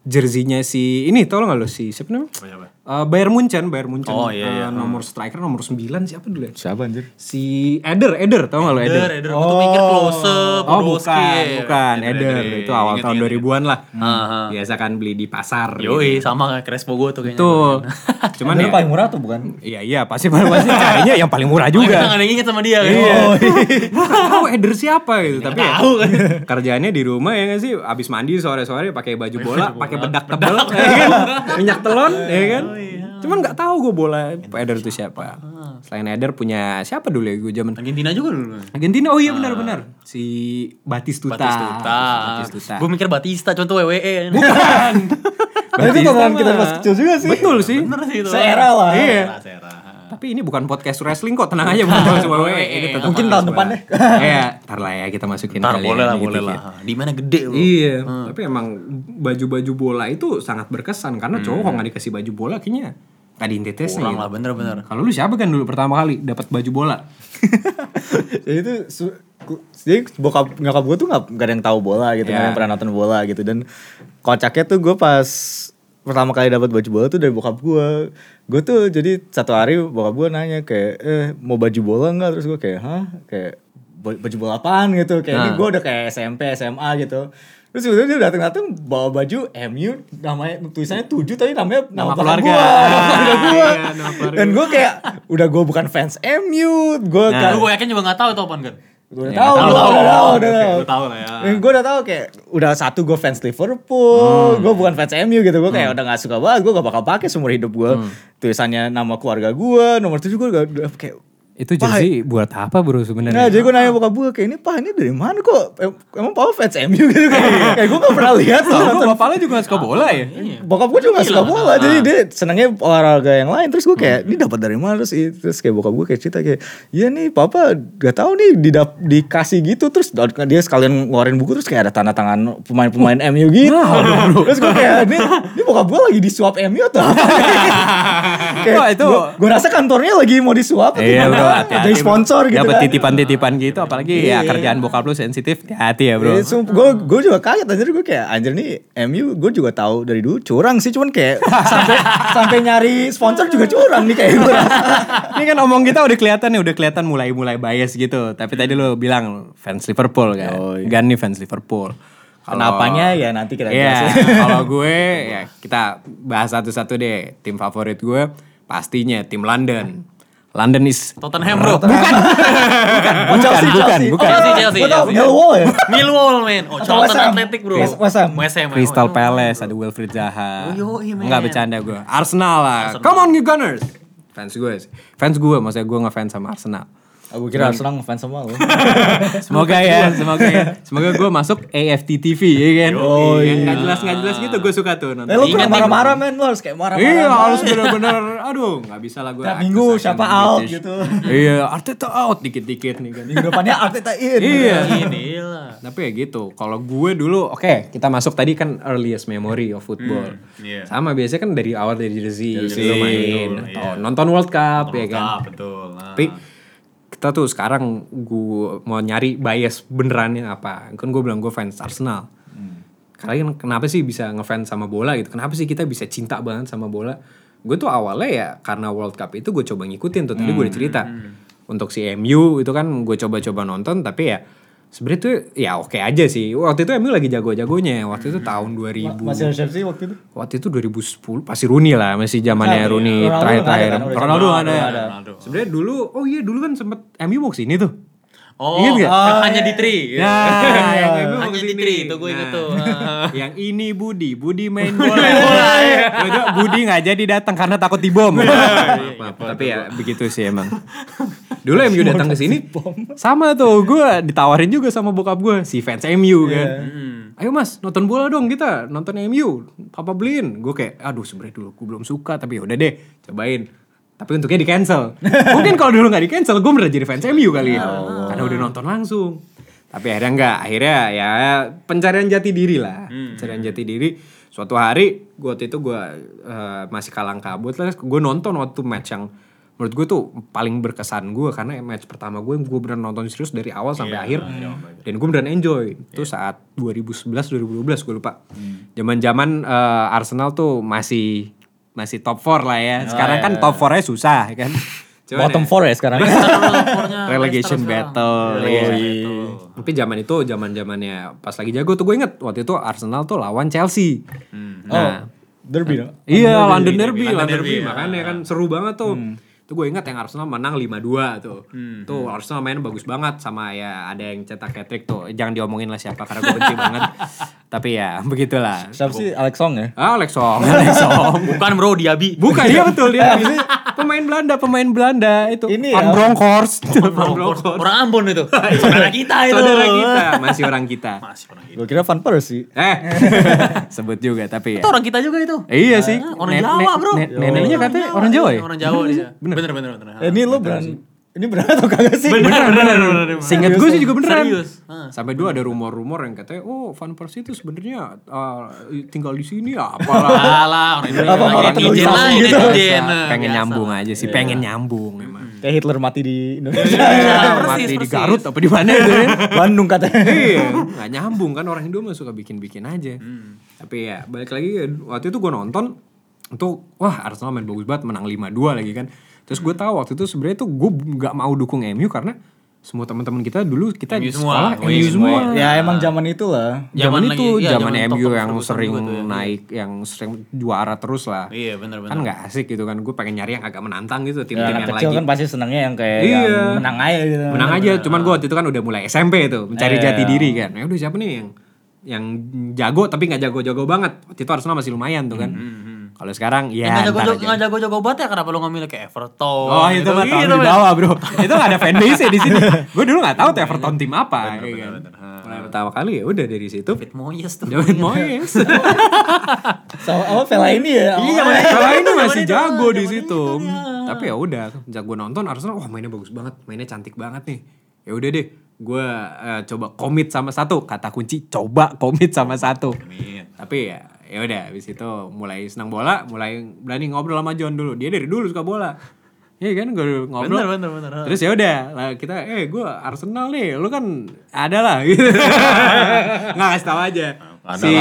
Speaker 1: jersinya si ini tau lo nggak lo si siapa namanya?
Speaker 3: Oh, siapa?
Speaker 1: Eh, Bayern Munchen, Bayern Munchen.
Speaker 3: Oh,
Speaker 1: Eh,
Speaker 3: iya,
Speaker 1: nomor striker nomor 9 siapa dulu ya?
Speaker 2: Siapa anjir?
Speaker 1: Si Eder, Eder tau nggak lo Eder?
Speaker 3: Eder, Eder, gua tuh mikir close,
Speaker 1: Oh
Speaker 3: gitu.
Speaker 1: bukan, bukan Eder, itu awal tahun 2000-an lah.
Speaker 3: Ah,
Speaker 1: Biasa kan beli di pasar.
Speaker 3: Yoi, sama kayak Crespo gue tuh kayaknya.
Speaker 1: Tuh. Cuman
Speaker 4: Cuman
Speaker 1: ya,
Speaker 4: paling murah tuh bukan?
Speaker 1: iya iya pasti pasti kayaknya yang paling murah juga.
Speaker 3: Kita gak ada yang inget sama dia kan.
Speaker 1: Iya. Tahu header siapa gitu, tapi ya, kerjaannya di rumah ya nggak sih, abis mandi sore-sore pakai baju bola, pakai bedak tebel, ya kan? minyak telon, ya kan? Cuman nggak tahu gue bola Eder itu siapa. Selain Eder punya siapa dulu ya gue zaman
Speaker 3: Argentina juga dulu.
Speaker 1: Argentina, oh iya benar-benar si Batistuta.
Speaker 3: Ah. Batistuta.
Speaker 1: Batistuta.
Speaker 3: Gue mikir Batista, contoh E. WWE.
Speaker 4: Nah, itu tontonan kita pas kecil juga sih.
Speaker 1: Betul sih.
Speaker 3: Bener sih itu.
Speaker 4: Seera lah.
Speaker 1: Iya.
Speaker 3: Sera.
Speaker 1: Tapi ini bukan podcast wrestling kok, tenang aja bukan podcast WWE. E.
Speaker 3: Iya.
Speaker 1: Ini tetap
Speaker 4: Mungkin
Speaker 1: podcast
Speaker 4: tahun depan
Speaker 1: bola.
Speaker 4: deh.
Speaker 1: Iya, ntar lah ya kita masukin
Speaker 3: Ntar
Speaker 1: kali ya,
Speaker 3: boleh lah,
Speaker 1: dikit-dikit.
Speaker 3: boleh lah. Hmm. Di mana gede lu.
Speaker 1: Iya, tapi emang baju-baju bola itu sangat berkesan karena cowok kalau nggak dikasih baju bola kayaknya nggak diintetesnya.
Speaker 3: Hmm. Kurang
Speaker 1: gitu.
Speaker 3: lah, bener-bener.
Speaker 1: Kalau lu siapa kan dulu pertama kali dapat baju bola?
Speaker 2: ya itu su- ku- jadi bokap nyokap gue tuh nggak nggak ada yang tahu bola gitu nggak ada yang
Speaker 1: Ya.
Speaker 2: pernah nonton bola gitu dan kocaknya tuh gue pas pertama kali dapat baju bola tuh dari bokap gue gue tuh jadi satu hari bokap gue nanya kayak eh mau baju bola nggak terus gue kayak hah kayak "Ba- baju bola apaan gitu kayak
Speaker 1: Nah.
Speaker 2: ini gue udah kayak SMP SMA gitu terus sebetulnya dia datang datang bawa baju MU namanya tulisannya tujuh tapi namanya
Speaker 1: Nama
Speaker 2: bokap
Speaker 1: keluarga.
Speaker 2: gua, nama keluarga gue
Speaker 1: Iya, nama keluarga.
Speaker 2: dan gue kayak udah gue bukan fans MU gue
Speaker 1: Nah.
Speaker 3: Lu gue yakin juga gak tau itu apaan kan.
Speaker 2: Gue udah tahu,
Speaker 3: tahu,
Speaker 2: udah tahu,
Speaker 3: tahu.
Speaker 2: udah
Speaker 3: Oke,
Speaker 2: tahu.
Speaker 3: lu tahu lah ya.
Speaker 2: Gue udah tahu kayak udah satu gue fans Liverpool,
Speaker 3: Hmm.
Speaker 2: gue bukan fans MU gitu. Gue kayak udah gak suka banget, gue gak bakal pakai seumur hidup gue.
Speaker 3: Hmm.
Speaker 2: Tulisannya nama keluarga gue, nomor tujuh gue udah, udah kayak
Speaker 1: Itu jersey buat apa bro
Speaker 2: Nah,
Speaker 1: sebenarnya?
Speaker 2: jadi gue nanya bokap gue kayak ini pah ini dari mana kok? Em- Emang papa fans MU gitu
Speaker 3: Iya.
Speaker 2: kayak, kayak gue gak pernah lihat loh. nonton.
Speaker 1: bapaknya juga nggak suka bola ya?
Speaker 2: Bokap gue juga gak suka bola,
Speaker 1: Ah.
Speaker 2: jadi dia senangnya olahraga yang lain. Terus gue kayak
Speaker 1: Hmm.
Speaker 2: ini dapat dari mana terus terus kayak bokap gue kayak cerita kayak ya nih papa gak tahu nih didap- dikasih gitu terus dia sekalian ngeluarin buku terus kayak ada tanda tangan pemain-pemain
Speaker 1: Oh.
Speaker 2: MU gitu.
Speaker 1: Ah,
Speaker 2: terus gue kayak ini ini bokap gue lagi disuap MU atau apa? kayak
Speaker 1: Wah, itu-
Speaker 2: gue rasa kantornya lagi mau disuap atau
Speaker 1: Iya bro,
Speaker 2: gimana.
Speaker 1: hati-hati.
Speaker 2: Jadi sponsor gitu. Iya.
Speaker 1: Dapat
Speaker 2: kan.
Speaker 1: titipan-titipan gitu, apalagi ya kerjaan bokap lu sensitif, hati ya
Speaker 2: Iya,
Speaker 1: bro.
Speaker 2: Gue gue juga kaget anjir gue kayak anjir nih MU gue juga tahu dari dulu curang sih cuman kayak sampai sampai nyari sponsor juga curang nih kayak gue
Speaker 1: Ini kan omong kita udah kelihatan nih, udah kelihatan mulai-mulai bias gitu. Tapi tadi lo bilang fans Liverpool kan. Gan nih fans Liverpool. Kalau-
Speaker 2: Kenapanya ya nanti kita
Speaker 1: Iya,
Speaker 2: jelasin.
Speaker 1: kalau gue ya kita bahas satu-satu deh. Tim favorit gue pastinya tim London. London is
Speaker 3: Tottenham bro.
Speaker 2: Oh, Chelsea,
Speaker 1: bukan, bukan.
Speaker 2: Chelsea. Oh,
Speaker 3: Chelsea, Chelsea,
Speaker 2: gua tahu,
Speaker 3: Chelsea.
Speaker 2: Millwall ya.
Speaker 3: Millwall men.
Speaker 2: Atau
Speaker 3: Oh,
Speaker 2: West
Speaker 3: Charlton
Speaker 2: Ham.
Speaker 3: Athletic bro.
Speaker 2: West- West Ham.
Speaker 3: West Ham. iya.
Speaker 1: Crystal Palace, ada Wilfried Zaha.
Speaker 3: Oh, yoi, man.
Speaker 1: Enggak bercanda gue. Arsenal lah. Come on you Gunners. Fans gue sih. Fans gue, maksudnya gue ngefans sama Arsenal.
Speaker 2: Aku kira senang fans sama lo.
Speaker 1: Semoga ya, semoga ya. Semoga gue masuk AFT TV ya kan. Oh, Nggak jelas nggak jelas gitu gue suka tuh nonton.
Speaker 2: Eh lu pernah
Speaker 3: Ingat nih.
Speaker 2: marah-marah men lu harus kayak marah-marah.
Speaker 1: Iya
Speaker 2: men.
Speaker 1: harus bener-bener Aduh gak bisa lah gue
Speaker 2: Tiap minggu siapa out gitu.
Speaker 1: Iya Arteta out dikit-dikit nih kan
Speaker 2: Minggu depannya Arteta in.
Speaker 1: Iya
Speaker 3: Ini lah.
Speaker 1: Tapi ya gitu Kalau gue dulu Oke kita masuk tadi kan Earliest memory of football
Speaker 3: iya.
Speaker 1: Sama biasanya kan dari awal Hmm, dari jersey Dulu main
Speaker 3: betul,
Speaker 1: atau Nonton World Cup ya kan
Speaker 3: Ah, betul. Nah.
Speaker 1: Tapi kita tuh sekarang gue mau nyari bias benerannya apa kan gue bilang gue fans Arsenal karena kan kenapa sih bisa ngefans sama bola gitu kenapa sih kita bisa cinta banget sama bola gue tuh awalnya ya karena World Cup itu gue coba ngikutin tuh tadi gue udah cerita untuk si MU itu kan gue coba-coba nonton tapi ya sebenarnya tuh ya oke aja sih waktu itu MU lagi jago-jagonya waktu itu tahun 2000
Speaker 2: Masih ada Chelsea waktu itu.
Speaker 1: waktu itu 2010 pasti Rooney lah masih zamannya
Speaker 2: Nah,
Speaker 1: Rooney
Speaker 2: Ronaldo
Speaker 1: terakhir-terakhir
Speaker 2: nggak ada kan?
Speaker 1: Iya, Ronaldo
Speaker 2: Udah
Speaker 1: ada,
Speaker 2: ada.
Speaker 1: ada. sebenarnya dulu oh iya dulu kan sempet MU mau kesini tuh
Speaker 3: Oh,
Speaker 1: Ingat nggak?
Speaker 3: yang hanya di tri.
Speaker 1: Nah, yang MU mau
Speaker 3: Iya. Hanya di
Speaker 1: kesini.
Speaker 3: tri, itu gue inget
Speaker 1: Nah,
Speaker 3: tuh.
Speaker 1: yang ini Budi, Budi main bola. iya. Gua juga Budi nggak jadi datang karena takut dibom. Maaf, maaf. Tapi ya begitu sih emang. Dulu MU datang ke sini sama tuh gue ditawarin juga sama bokap gue si fans MU kan. Ayo mas nonton bola dong kita nonton MU. Papa beliin. Gue kayak aduh sebenernya dulu gue belum suka tapi ya udah deh cobain. Tapi untuknya di cancel. Mungkin kalau dulu nggak di cancel gue bener jadi fans MU kali ya. Karena udah nonton langsung. Tapi akhirnya enggak, akhirnya ya pencarian jati diri lah. Pencarian jati diri. Suatu hari gue waktu itu gue eh, masih kalang kabut lah, gue nonton waktu match yang menurut gue tuh paling berkesan gue karena match pertama gue gue bener nonton serius dari awal sampai akhir dan gue beneran enjoy. Itu saat 2011 2012 gue lupa. Zaman-zaman eh, Arsenal tuh masih masih top 4 lah ya. Sekarang
Speaker 2: iya,
Speaker 1: kan
Speaker 2: iya.
Speaker 1: top 4-nya susah ya kan. Cuman
Speaker 2: Bottom
Speaker 1: ya,
Speaker 2: four ya sekarang.
Speaker 1: relegation battle.
Speaker 2: Oh,
Speaker 1: iya.
Speaker 3: Iya.
Speaker 1: Tapi zaman itu zaman-zamannya pas lagi jago tuh gue inget waktu itu Arsenal tuh lawan Chelsea. Nah,
Speaker 2: oh, derby dong.
Speaker 1: Iya, London Derby,
Speaker 3: London
Speaker 1: London Derby,
Speaker 3: Derby,
Speaker 1: makanya kan seru banget tuh. Itu gue ingat yang Arsenal menang 5-2 tuh. Tuh Arsenal main bagus banget sama ya ada yang cetak hat trick tuh. Jangan diomongin lah siapa karena gue benci banget. Tapi ya begitulah.
Speaker 2: Siapa sih Alex Song ya?
Speaker 1: Ah, Alex Song, Alex Song.
Speaker 3: Bukan bro, Diaby.
Speaker 1: Bukan dia betul dia. Ini pemain Belanda, pemain Belanda itu.
Speaker 2: Ini
Speaker 1: Van
Speaker 2: ya.
Speaker 1: Bronckhorst. Van Bronckhorst.
Speaker 3: Orang Ambon itu. Saudara kita itu.
Speaker 1: Iya. Saudara kita, masih orang kita.
Speaker 3: Masih orang kita.
Speaker 2: Gue kira Van Persie.
Speaker 1: Eh, sebut juga tapi ya.
Speaker 3: Itu orang kita juga itu.
Speaker 1: Iya sih.
Speaker 3: Orang
Speaker 1: Nen-
Speaker 3: Jawa,
Speaker 1: nen-
Speaker 3: bro.
Speaker 1: nen- neneknya katanya orang Jawa ya?
Speaker 3: Orang Jawa dia. Bener, bener, bener. bener.
Speaker 2: Eh, ini lo beran, ini beran atau kagak sih?
Speaker 1: beneran beneran beneran Ah. seingat gue sih juga beneran
Speaker 3: Serius.
Speaker 1: sampai dulu ada rumor-rumor yang katanya oh Van Persie itu sebenarnya uh, tinggal di sini ya apalah Iya,
Speaker 3: Alah, orang Indonesia.
Speaker 2: Apa, orang
Speaker 3: netizen
Speaker 2: terlalu
Speaker 3: lah,
Speaker 2: gitu.
Speaker 3: netizen.
Speaker 1: pengen
Speaker 3: Biasa.
Speaker 1: nyambung aja sih pengen nyambung emang
Speaker 2: Kayak Hitler mati di Indonesia.
Speaker 1: Ya,
Speaker 3: persis,
Speaker 1: mati di
Speaker 3: persis.
Speaker 1: Garut apa di mana itu ya
Speaker 2: Bandung katanya.
Speaker 1: iya nggak nyambung kan orang Indo mah suka bikin-bikin aja
Speaker 3: Hmm.
Speaker 1: tapi ya balik lagi waktu itu gue nonton itu wah Arsenal main bagus banget menang 5-2 lagi kan terus gue tahu waktu itu sebenarnya tuh gue nggak mau dukung MU karena semua teman-teman kita dulu kita
Speaker 3: MU
Speaker 1: di sekolah
Speaker 3: semua, MU
Speaker 1: MU semua
Speaker 2: Ya
Speaker 1: Ah.
Speaker 2: emang zaman itulah.
Speaker 1: zaman
Speaker 3: Zaman
Speaker 1: itu
Speaker 3: lagi- iya,
Speaker 1: zaman
Speaker 3: zaman
Speaker 1: MU
Speaker 3: top-top
Speaker 1: yang
Speaker 3: Ferguson
Speaker 1: sering
Speaker 3: juga tuh ya.
Speaker 1: naik yang sering juara terus lah
Speaker 3: Iya, bener, bener.
Speaker 1: kan nggak asik gitu kan gue pengen nyari yang agak menantang gitu tim-tim
Speaker 2: Ya, anak
Speaker 1: yang
Speaker 2: kecil
Speaker 1: lagi
Speaker 2: kan pasti senangnya yang kayak
Speaker 1: Iya.
Speaker 2: yang menang aja gitu.
Speaker 1: menang aja cuman gue waktu itu kan udah mulai SMP tuh mencari
Speaker 2: Iya.
Speaker 1: jati diri kan ya udah siapa nih yang yang jago tapi nggak jago-jago banget waktu itu Arsenal masih lumayan tuh kan
Speaker 3: Hmm,
Speaker 1: kalau sekarang ya
Speaker 3: Nggak
Speaker 1: ntar
Speaker 3: jago-jago-
Speaker 1: aja.
Speaker 3: nggak jago-jago banget ya kenapa lo ngambil kayak Everton Gitu. Iya,
Speaker 1: Oh itu mah tahun di bawah bro Itu gak ada fanbase di sini Gue dulu gak tahu tuh Everton
Speaker 3: Iya.
Speaker 1: tim apa ya kan. Mulai pertama kali ya udah dari situ
Speaker 3: David Moyes tuh
Speaker 1: David Moyes
Speaker 2: Sama apa Vela ini ya?
Speaker 1: Iya,
Speaker 2: awalnya.
Speaker 1: kalau ini
Speaker 3: Zaman
Speaker 1: masih
Speaker 3: itu, iya.
Speaker 1: jago di
Speaker 3: zaman
Speaker 1: situ. Tapi ya udah, sejak gue nonton Arsenal, wah mainnya bagus banget, mainnya cantik banget nih. Ya udah deh, gue eh, coba komit sama satu kata kunci, coba komit sama satu. Tapi ya, ya udah, habis itu mulai senang bola, mulai berani ngobrol sama John dulu. Dia dari dulu suka bola. Iya kan gue ngobrol.
Speaker 3: Bener, bener, bener.
Speaker 1: Terus ya udah, lah kita eh gue Arsenal nih, lu kan ada lah gitu. Nggak kasih tahu aja.
Speaker 3: Ada Hmm.
Speaker 1: si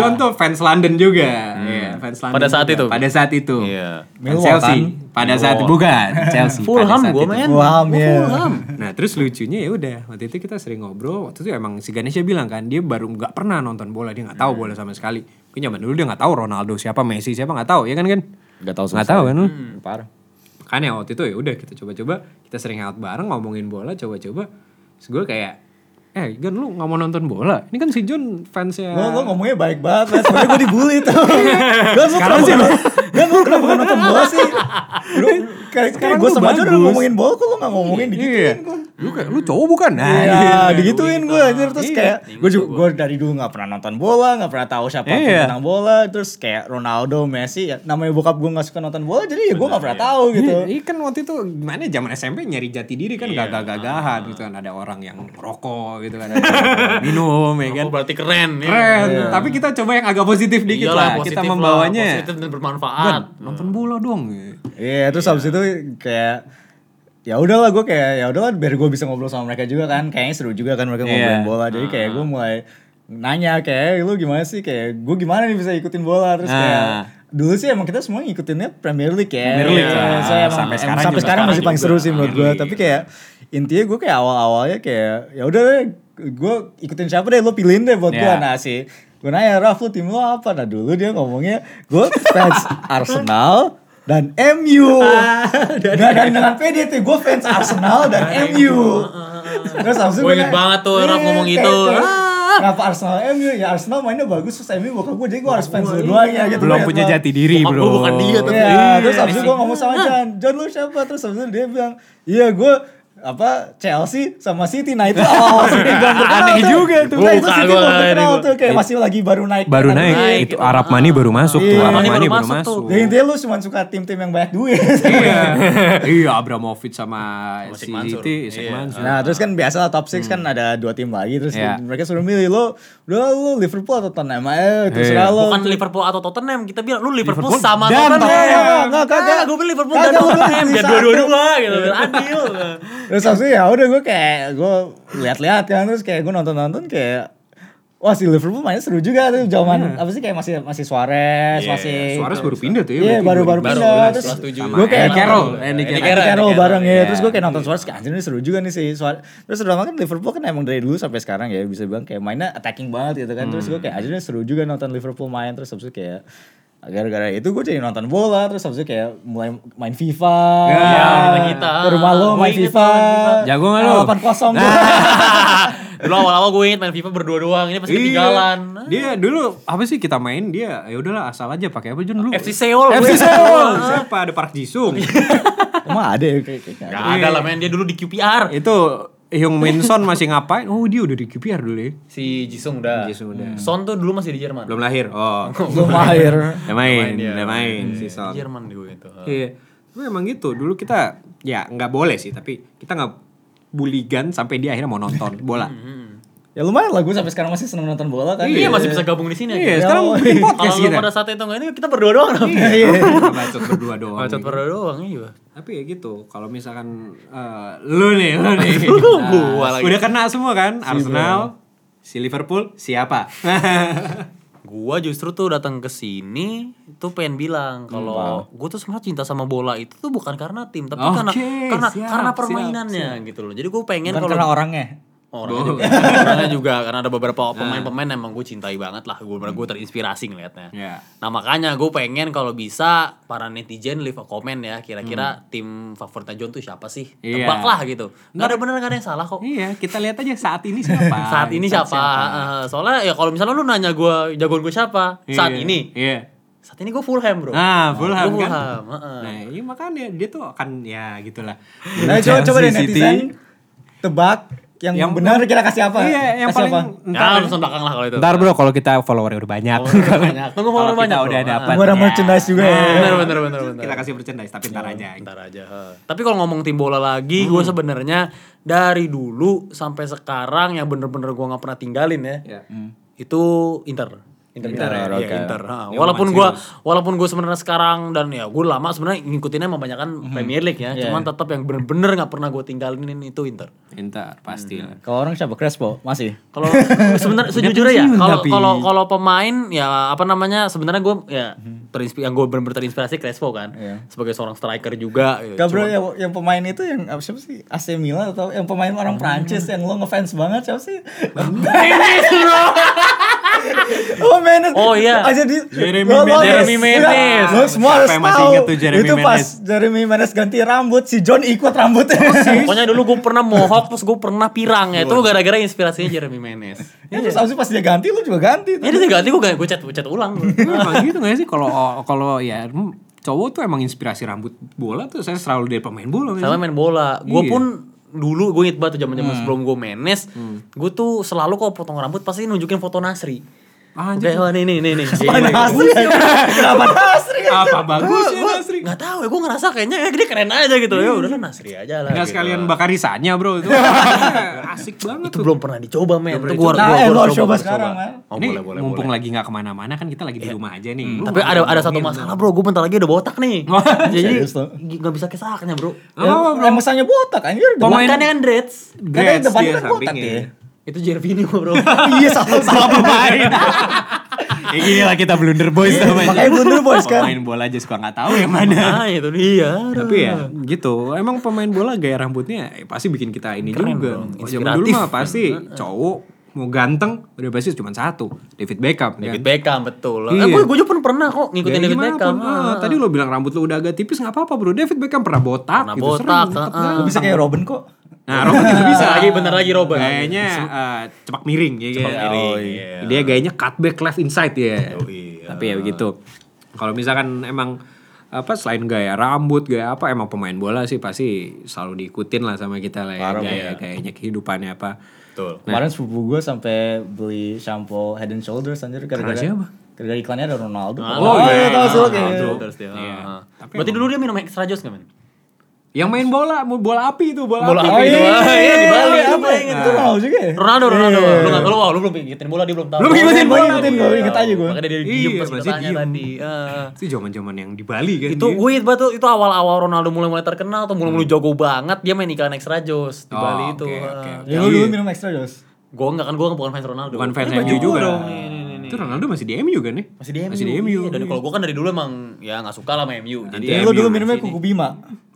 Speaker 1: John tuh fans London juga. Iya, fans London.
Speaker 3: Pada saat
Speaker 1: juga.
Speaker 3: itu?
Speaker 1: Pada saat itu.
Speaker 3: Iya.
Speaker 1: Fans
Speaker 2: Millwall,
Speaker 1: Chelsea.
Speaker 2: kan?
Speaker 1: Pada saat bukan Chelsea. pada
Speaker 3: Fulham
Speaker 1: saat
Speaker 3: gue
Speaker 1: itu.
Speaker 3: men. Oh,
Speaker 2: Fulham, ya.
Speaker 1: Nah terus lucunya ya udah waktu itu kita sering ngobrol waktu itu emang si Ganesha bilang kan dia baru nggak pernah nonton bola dia nggak tahu
Speaker 3: Hmm.
Speaker 1: bola sama sekali mungkin zaman dulu dia nggak tahu Ronaldo siapa Messi siapa nggak tahu ya kan kan
Speaker 2: Nggak tahu sama
Speaker 1: nggak tahu kan lu?
Speaker 2: Hmm, Parah.
Speaker 1: makanya waktu itu ya udah kita coba-coba kita sering hangout bareng ngomongin bola coba-coba terus gue kayak eh Gan lu nggak mau nonton bola ini kan si John fansnya
Speaker 2: Lo, lo ngomongnya baik banget, Mas. Sebenernya gue dibully tuh. Gak, lu
Speaker 1: Sekarang
Speaker 2: kenapa
Speaker 1: sih,
Speaker 2: sih, Gak, lu kenapa gak nonton bola sih? Lu, kayak, kayak
Speaker 1: Sekarang
Speaker 2: gue
Speaker 1: lu
Speaker 2: sama aja udah
Speaker 1: bagus.
Speaker 2: ngomongin bola, kok lu gak ngomongin gitu
Speaker 1: iya lu kayak lu cowok bukan nah gitu.
Speaker 2: Iya, digituin gue anjir terus
Speaker 1: Iya.
Speaker 2: kayak gue juga gue dari dulu nggak pernah nonton bola, nggak pernah tahu siapa
Speaker 1: Iya.
Speaker 2: penentang bola, terus kayak Ronaldo, Messi, ya, namanya bokap gue nggak suka nonton bola, jadi ya gue nggak pernah tahu gitu.
Speaker 1: Iya, Iya kan waktu itu gimana zaman SMP nyari jati diri kan
Speaker 3: Iya.
Speaker 1: gagah-gagahan gitu kan ada orang yang rokok gitu kan ada yang minum ya kan.
Speaker 3: Oh, berarti keren. ya.
Speaker 1: Keren. Tapi kita coba yang agak positif dikit
Speaker 3: Iyalah,
Speaker 1: lah.
Speaker 3: positif
Speaker 1: kita
Speaker 3: Iya lah,
Speaker 1: membawanya.
Speaker 3: positif Hmm. dan
Speaker 1: Gan,
Speaker 3: bermanfaat.
Speaker 1: nonton bola dong.
Speaker 2: Iya, terus habis itu kayak ya udahlah gue kayak ya udahlah biar gue bisa ngobrol sama mereka juga kan, kayaknya seru juga kan mereka
Speaker 1: Iya.
Speaker 2: ngobrolin bola, jadi kayak gue mulai nanya kayak "Eh, lu gimana sih kayak gue gimana nih bisa ikutin bola terus kayak
Speaker 1: Ah.
Speaker 2: dulu sih emang kita semua ngikutinnya Premier League ya
Speaker 1: Premier League
Speaker 2: Iya,
Speaker 1: lah.
Speaker 2: so emang-
Speaker 1: Sampai
Speaker 2: emang
Speaker 1: sekarang
Speaker 2: sampai
Speaker 1: juga.
Speaker 2: sekarang masih
Speaker 1: Sekarang
Speaker 2: paling
Speaker 1: juga. Iya.
Speaker 2: seru sih menurut gue
Speaker 1: Premier
Speaker 2: tapi kayak intinya gue kayak awal-awalnya kayak ya udah deh, gue ikutin siapa deh lo pilihin deh buat gue
Speaker 3: Iya.
Speaker 1: Ya.
Speaker 2: nah si gue nanya Raf lu tim lo apa nah dulu dia ngomongnya gue fans Arsenal dan MU
Speaker 3: Ah,
Speaker 2: nah, dan dengan pede tuh gue fans Arsenal dan MU terus habis itu
Speaker 3: Gua inget
Speaker 2: kayak,
Speaker 3: banget tuh Raf
Speaker 2: "Iya,
Speaker 3: ngomong
Speaker 2: kayak-
Speaker 3: gitu."
Speaker 2: kayak,
Speaker 3: Ah.
Speaker 2: Kenapa Arsenal MU? Ya Arsenal mainnya bagus, terus MU bokap gue jadi gue harus fans
Speaker 3: iya.
Speaker 2: dua-duanya gitu.
Speaker 1: Belum
Speaker 2: Lihat
Speaker 1: punya
Speaker 2: banget.
Speaker 1: jati diri,
Speaker 3: Bokap
Speaker 1: Bro.
Speaker 3: gua bukan dia, tapi-
Speaker 2: Iya, terus abis itu gue ngomong sama Jan, Jan lu siapa? Terus abis itu dia bilang, iya gue apa Chelsea sama City nah itu awal City belum terkenal
Speaker 1: Aneh
Speaker 2: tuh.
Speaker 1: juga tuh.
Speaker 2: nah, itu
Speaker 3: Buka
Speaker 2: City
Speaker 3: gua
Speaker 2: belum
Speaker 3: kali
Speaker 2: terkenal
Speaker 3: ini.
Speaker 2: tuh kayak masih lagi baru naik
Speaker 1: Baru naik.
Speaker 3: naik,
Speaker 1: Itu
Speaker 3: gitu.
Speaker 1: Arab Money baru masuk tuh.
Speaker 2: Iya.
Speaker 1: Arab
Speaker 3: Money
Speaker 1: Money
Speaker 3: baru
Speaker 1: baru
Speaker 3: masuk
Speaker 1: masuk.
Speaker 2: ya intinya lu cuma suka tim-tim yang banyak duit
Speaker 1: Iya. Iya Abramovich sama si
Speaker 3: Sheikh Mansur.
Speaker 1: Siti, Sheikh
Speaker 3: Iya.
Speaker 1: Mansur.
Speaker 2: nah terus kan biasa lah, top 6 kan ada dua tim lagi terus
Speaker 1: Hmm. Iya.
Speaker 2: mereka suruh milih lo udah lah, lu Liverpool atau Tottenham
Speaker 1: Iya.
Speaker 2: eh terserah lo
Speaker 3: Bukan Liverpool atau Tottenham, kita bilang lu Liverpool,
Speaker 1: Liverpool
Speaker 3: sama
Speaker 1: dan
Speaker 3: Tottenham. Iya,
Speaker 2: Tottenham.
Speaker 3: Enggak,
Speaker 2: Enggak, kagak.
Speaker 3: gue pilih Liverpool
Speaker 2: Kagak,
Speaker 3: dan
Speaker 2: lu pilih
Speaker 3: Tottenham, biar
Speaker 2: satu.
Speaker 3: dua-dua gitu, biar adil.
Speaker 2: Terus habis itu ya udah gue kayak gue lihat-lihat kan terus kayak gue nonton-nonton kayak Wah si Liverpool mainnya seru juga tuh zaman apa sih kayak masih masih Suarez
Speaker 1: Iya,
Speaker 2: masih
Speaker 1: Suarez baru pindah tuh ya. berarti
Speaker 2: Iya baru-baru
Speaker 1: 2011.
Speaker 2: pindah
Speaker 3: baru,
Speaker 2: terus
Speaker 3: kelas tujuh.
Speaker 2: gue kayak
Speaker 1: Andy Carroll,
Speaker 2: Andy
Speaker 1: Andy
Speaker 2: Carroll,
Speaker 3: Carroll.
Speaker 2: bareng ya
Speaker 3: Iya.
Speaker 2: terus gue kayak nonton Suarez kayak anjir ini seru juga nih si Suarez terus udah lama kan Liverpool kan emang dari dulu sampai sekarang ya bisa bilang kayak mainnya attacking banget gitu kan terus gue kayak anjir ini seru juga nonton Liverpool main terus habis itu kayak gara-gara itu gue jadi nonton bola terus habis itu kayak mulai main FIFA
Speaker 1: Ya,
Speaker 3: kita-kita.
Speaker 2: ke rumah lo main
Speaker 3: Gue inget
Speaker 2: FIFA
Speaker 3: tuh,
Speaker 1: Jago nggak lo?
Speaker 2: 8-0
Speaker 3: Dulu awal-awal gue inget main FIFA berdua-doang, ini pasti
Speaker 1: Iya.
Speaker 3: ketinggalan.
Speaker 1: Dia dulu apa sih kita main dia ya udahlah asal aja pakai apa Jun dulu.
Speaker 3: FC Seoul.
Speaker 1: FC
Speaker 3: gue.
Speaker 1: Seoul. Siapa ada Park Jisung.
Speaker 2: emang ada ya kayak- kayak-
Speaker 1: Iya.
Speaker 3: Gak ada lah men, dia dulu di QPR.
Speaker 1: Itu Hyung Min Son masih ngapain? Oh, dia udah di QPR dulu ya.
Speaker 3: Si Jisung udah.
Speaker 1: Jisung udah. Hmm.
Speaker 3: Son tuh dulu masih di Jerman.
Speaker 1: Belum lahir. Oh.
Speaker 2: belum lahir
Speaker 1: Udah main, udah main si Son.
Speaker 3: Iya, Di Jerman gue itu.
Speaker 1: Iya. Tapi emang gitu. Dulu kita ya nggak boleh sih, tapi kita nggak buligan sampai dia akhirnya mau nonton bola.
Speaker 2: Ya lumayan lah gue sampai sekarang masih seneng nonton bola kan.
Speaker 3: Iya masih bisa gabung di sini
Speaker 1: Iya,
Speaker 3: akhirnya.
Speaker 1: sekarang bikin podcast
Speaker 3: Kalau lu
Speaker 1: kita.
Speaker 3: pada saat itu nggak ini kita berdua doang.
Speaker 1: Iya. Bacot berdua doang.
Speaker 3: Macet berdua doang iya.
Speaker 1: Tapi ya gitu, kalau misalkan eh, lu nih, lu nih. Nah,
Speaker 3: Lu gua lagi.
Speaker 1: Udah kena semua kan? Arsenal, si Liverpool, siapa?
Speaker 3: Gua justru tuh datang ke sini tuh pengen
Speaker 1: Hmm,
Speaker 3: bilang kalau gua tuh sebenarnya cinta sama bola itu tuh bukan karena tim tapi karena
Speaker 1: Oke,
Speaker 3: karena
Speaker 1: siap,
Speaker 3: karena
Speaker 1: siap,
Speaker 3: permainannya gitu loh. Jadi gua pengen
Speaker 2: Bukan
Speaker 3: kalau
Speaker 2: karena orangnya.
Speaker 3: orangnya juga, orangnya juga karena ada
Speaker 1: Nah.
Speaker 3: beberapa pemain-pemain emang gue cintai banget lah gue gue terinspirasi ngelihatnya
Speaker 1: Iya.
Speaker 3: nah makanya gue pengen kalau bisa para netizen leave a comment ya kira-kira tim favoritnya John tuh siapa sih
Speaker 1: Hmm. Iya. Nah.
Speaker 3: tebak lah gitu nggak ada bener nggak ada yang salah kok
Speaker 1: iya, kita lihat aja saat ini siapa.
Speaker 3: saat ini siapa, Eh, soalnya ya kalau misalnya lu nanya gue jagoan gue siapa saat
Speaker 1: Iya,
Speaker 3: ini
Speaker 1: Iya.
Speaker 3: saat ini gue Fulham bro
Speaker 1: Nah, Fulham kan.
Speaker 3: Gua Fulham, heeh.
Speaker 1: Nah, iya makanya dia tuh akan ya gitulah.
Speaker 2: Nah, coba coba deh
Speaker 1: Chelsea, City.
Speaker 2: netizen tebak yang, benar kita kasih apa?
Speaker 1: Iya, yang
Speaker 2: kasih
Speaker 1: paling
Speaker 3: ya langsung belakang lah kalau itu
Speaker 1: Ntar bro, kalau kita followernya udah banyak.
Speaker 3: Follower banyak. Tunggu
Speaker 1: Kalau
Speaker 3: follower
Speaker 1: kita
Speaker 3: banyak,
Speaker 1: udah
Speaker 3: bro.
Speaker 1: dapat.
Speaker 2: apa? Gua ada
Speaker 1: ya.
Speaker 2: merchandise juga ya.
Speaker 3: Nah, bener bener bener bener Iya.
Speaker 1: Kita kasih merchandise tapi ntar aja.
Speaker 3: Ntar aja. he. Tapi kalau ngomong tim bola lagi, gue sebenarnya dari dulu sampai sekarang yang bener-bener gue nggak pernah tinggalin ya,
Speaker 1: Iya.
Speaker 3: itu Inter. Inter,
Speaker 1: Inter,
Speaker 3: Milan.
Speaker 1: ya,
Speaker 3: Iya,
Speaker 1: oke.
Speaker 3: Inter. ha.
Speaker 1: Yang
Speaker 3: Walaupun
Speaker 1: masih
Speaker 3: gue, walaupun gue sebenarnya sekarang dan ya gue lama sebenarnya ngikutinnya emang banyak kan
Speaker 1: Hmm.
Speaker 3: Premier League ya.
Speaker 1: Iya.
Speaker 3: Cuman tetap yang bener-bener nggak pernah gue tinggalin itu Inter.
Speaker 1: Ntar pasti lah.
Speaker 2: Nah, Kalau orang siapa Crespo masih.
Speaker 3: Kalau sebenarnya sejujurnya ya,
Speaker 1: pensiun
Speaker 3: kalau
Speaker 1: tapi.
Speaker 3: kalau kalau pemain ya apa namanya sebenarnya gue ya
Speaker 1: Hmm.
Speaker 3: terinspirasi yang gue bener-bener terinspirasi Crespo kan
Speaker 1: Iya.
Speaker 3: sebagai seorang striker juga. Gitu.
Speaker 2: Gak bro yang, yang pemain itu yang apa siapa sih AC Milan atau yang pemain orang Prancis yang lo ngefans banget siapa sih? oh Menes.
Speaker 3: Oh, iya.
Speaker 2: Ah, jadi
Speaker 1: Jeremy
Speaker 2: lo- lo-
Speaker 1: Mendes.
Speaker 3: Jeremy Mendes.
Speaker 2: Lo semua harus
Speaker 1: Siapa yang masih
Speaker 2: tahu.
Speaker 1: ingat tuh Jeremy
Speaker 2: itu pas
Speaker 1: Mendes?
Speaker 2: Jeremy Mendes ganti rambut si John ikut rambutnya. Iya.
Speaker 3: Pokoknya dulu gue pernah mohok terus gue pernah pirang ya. Itu gara-gara inspirasinya Jeremy Menes.
Speaker 2: Ya, terus abis itu pas dia ganti lu juga ganti.
Speaker 3: Jadi tinggal ganti gue gue chat gue chat ulang.
Speaker 1: emang gitu gak sih kalau kalau ya em, cowok tuh emang inspirasi rambut bola tuh saya selalu dari pemain bola nggak sih?
Speaker 3: Sama main bola.
Speaker 1: Iya.
Speaker 3: Gue
Speaker 1: Hmm.
Speaker 3: pun dulu gue inget banget tuh zaman-zaman sebelum gue Menes, gue tuh selalu kok potong rambut pasti nunjukin foto Nasri.
Speaker 1: Ah,
Speaker 3: Kayak wah nih nih nih nih.
Speaker 2: Mana Nasri? Kenapa Nasri?
Speaker 1: apa bagus ya Nasri
Speaker 3: Gak tau ya, gue ngerasa kayaknya eh, dia keren aja gitu Ya udah lah Nasri aja lah
Speaker 1: Iya. nggak
Speaker 3: gitu. Iya.
Speaker 1: sekalian bakar risanya bro itu asik banget
Speaker 3: Itu
Speaker 1: tuh
Speaker 3: belum pernah dicoba men Itu
Speaker 2: dicoba. Nah, eh, lo harus coba sekarang,
Speaker 3: coba.
Speaker 2: Mal.
Speaker 3: Oh
Speaker 1: ini
Speaker 3: boleh boleh
Speaker 1: mumpung
Speaker 3: boleh
Speaker 1: lagi nggak kemana-mana kan kita lagi di rumah aja nih Lu
Speaker 3: Tapi ada ada satu masalah bro, gue bentar lagi udah botak nih Jadi
Speaker 2: Serius, lo?
Speaker 3: gak bisa kesaknya bro
Speaker 2: Ya, emang sange botak anjir.
Speaker 1: Pemain-
Speaker 3: Bukan yang dreads
Speaker 1: Dreads
Speaker 2: Kan depannya
Speaker 1: dia
Speaker 2: kan botak
Speaker 1: sampingnya.
Speaker 2: dia.
Speaker 3: Itu Jervinho bro
Speaker 2: Iya salah salah pemain.
Speaker 1: ya gini lah kita blunder boys namanya
Speaker 2: Iya, Makanya blunder boys kan.
Speaker 1: pemain bola aja suka nggak tahu yang mana
Speaker 3: Nah itu dia
Speaker 1: tapi ya gitu emang pemain bola gaya rambutnya eh, pasti bikin kita ini juga
Speaker 3: dong,
Speaker 1: zaman dulu
Speaker 3: inspiratif.
Speaker 1: mah pasti cowok mau ganteng udah pasti cuma satu David Beckham kan?
Speaker 3: David Beckham betul
Speaker 1: Iya.
Speaker 3: Eh gue juga pun pernah kok ngikutin
Speaker 1: Ya,
Speaker 3: David
Speaker 1: gimana
Speaker 3: Beckham
Speaker 1: pun, ah, tadi lo bilang rambut lo udah agak tipis nggak apa-apa bro David Beckham pernah botak
Speaker 3: Pernah
Speaker 1: gitu
Speaker 3: botak,
Speaker 1: serem, cakep
Speaker 3: ah, ah.
Speaker 1: banget.
Speaker 2: Bisa kayak Robin kok.
Speaker 1: nah rambut juga bisa
Speaker 3: Bisa lagi bentar lagi Robert
Speaker 1: gayanya eh, cepak miring ya
Speaker 3: Cepak
Speaker 1: kan?
Speaker 3: miring,
Speaker 1: Oh,
Speaker 3: iya.
Speaker 1: iya. dia gayanya cutback left inside ya
Speaker 3: iya.
Speaker 1: tapi ya begitu kalau misalkan emang apa selain gaya rambut gaya apa emang pemain bola sih pasti selalu diikutin lah sama kita lah ya gaya gayanya kehidupannya apa
Speaker 3: Betul
Speaker 2: Kemarin sepupu gue sampai beli shampoo Head and Shoulders anjir gara-gara
Speaker 1: Karena siapa?
Speaker 2: Gara-gara iklannya ada Ronaldo.
Speaker 1: Oh, iya, iya,
Speaker 2: tahu sih lo
Speaker 1: iya,
Speaker 2: kayak-
Speaker 1: Ronaldo.
Speaker 3: Ah. Terus dia
Speaker 1: Iya.
Speaker 3: ah, ah.
Speaker 1: Tapi
Speaker 3: Berarti dulu dia minum extra jus gak men?
Speaker 1: yang main bola mau bola api itu bola,
Speaker 3: Bola
Speaker 1: api,
Speaker 3: api.
Speaker 1: Itu.
Speaker 3: Wah, iya, di
Speaker 2: Oh,
Speaker 3: Bali,
Speaker 2: Iya,
Speaker 3: itu
Speaker 2: apa
Speaker 3: gue
Speaker 2: yang itu
Speaker 1: Nah,
Speaker 2: Ronaldo juga ya?
Speaker 3: Ronaldo, Ronaldo. Lu gak keluar, lu belum ngikutin bola, dia belum tahu.
Speaker 1: Belum ngikutin
Speaker 2: Gue
Speaker 1: bola,
Speaker 2: ngikutin gue, inget aja gue.
Speaker 3: Makanya dia diem
Speaker 1: Iya,
Speaker 3: pas kita
Speaker 1: masih
Speaker 3: tanya
Speaker 1: diem.
Speaker 3: tadi. Ah.
Speaker 1: itu zaman zaman yang di Bali kan
Speaker 3: itu
Speaker 1: dia.
Speaker 3: gue inget banget tuh, itu awal-awal Ronaldo mulai-mulai terkenal atau mulai-mulai jago banget dia main iklan extra jus di
Speaker 1: Oh,
Speaker 3: Bali itu.
Speaker 1: oke, oke,
Speaker 3: Ah.
Speaker 1: oke.
Speaker 2: Ya lu dulu Iya, minum extra jos.
Speaker 3: Gue enggak kan gue bukan fans Ronaldo.
Speaker 1: Bukan fans
Speaker 3: Ini
Speaker 1: MU
Speaker 3: baju gua
Speaker 1: juga.
Speaker 3: dong, ini, ini, ini.
Speaker 1: Itu Ronaldo masih di MU kan nih?
Speaker 3: Masih di MU.
Speaker 1: Masih di MU.
Speaker 3: Iya, Dan kalau gue kan dari dulu emang ya nggak suka lah sama MU. Jadi
Speaker 1: Anti-
Speaker 3: ya,
Speaker 1: Lu
Speaker 2: Lo dulu
Speaker 1: Bima
Speaker 2: minumnya
Speaker 3: sini.
Speaker 2: kuku bima.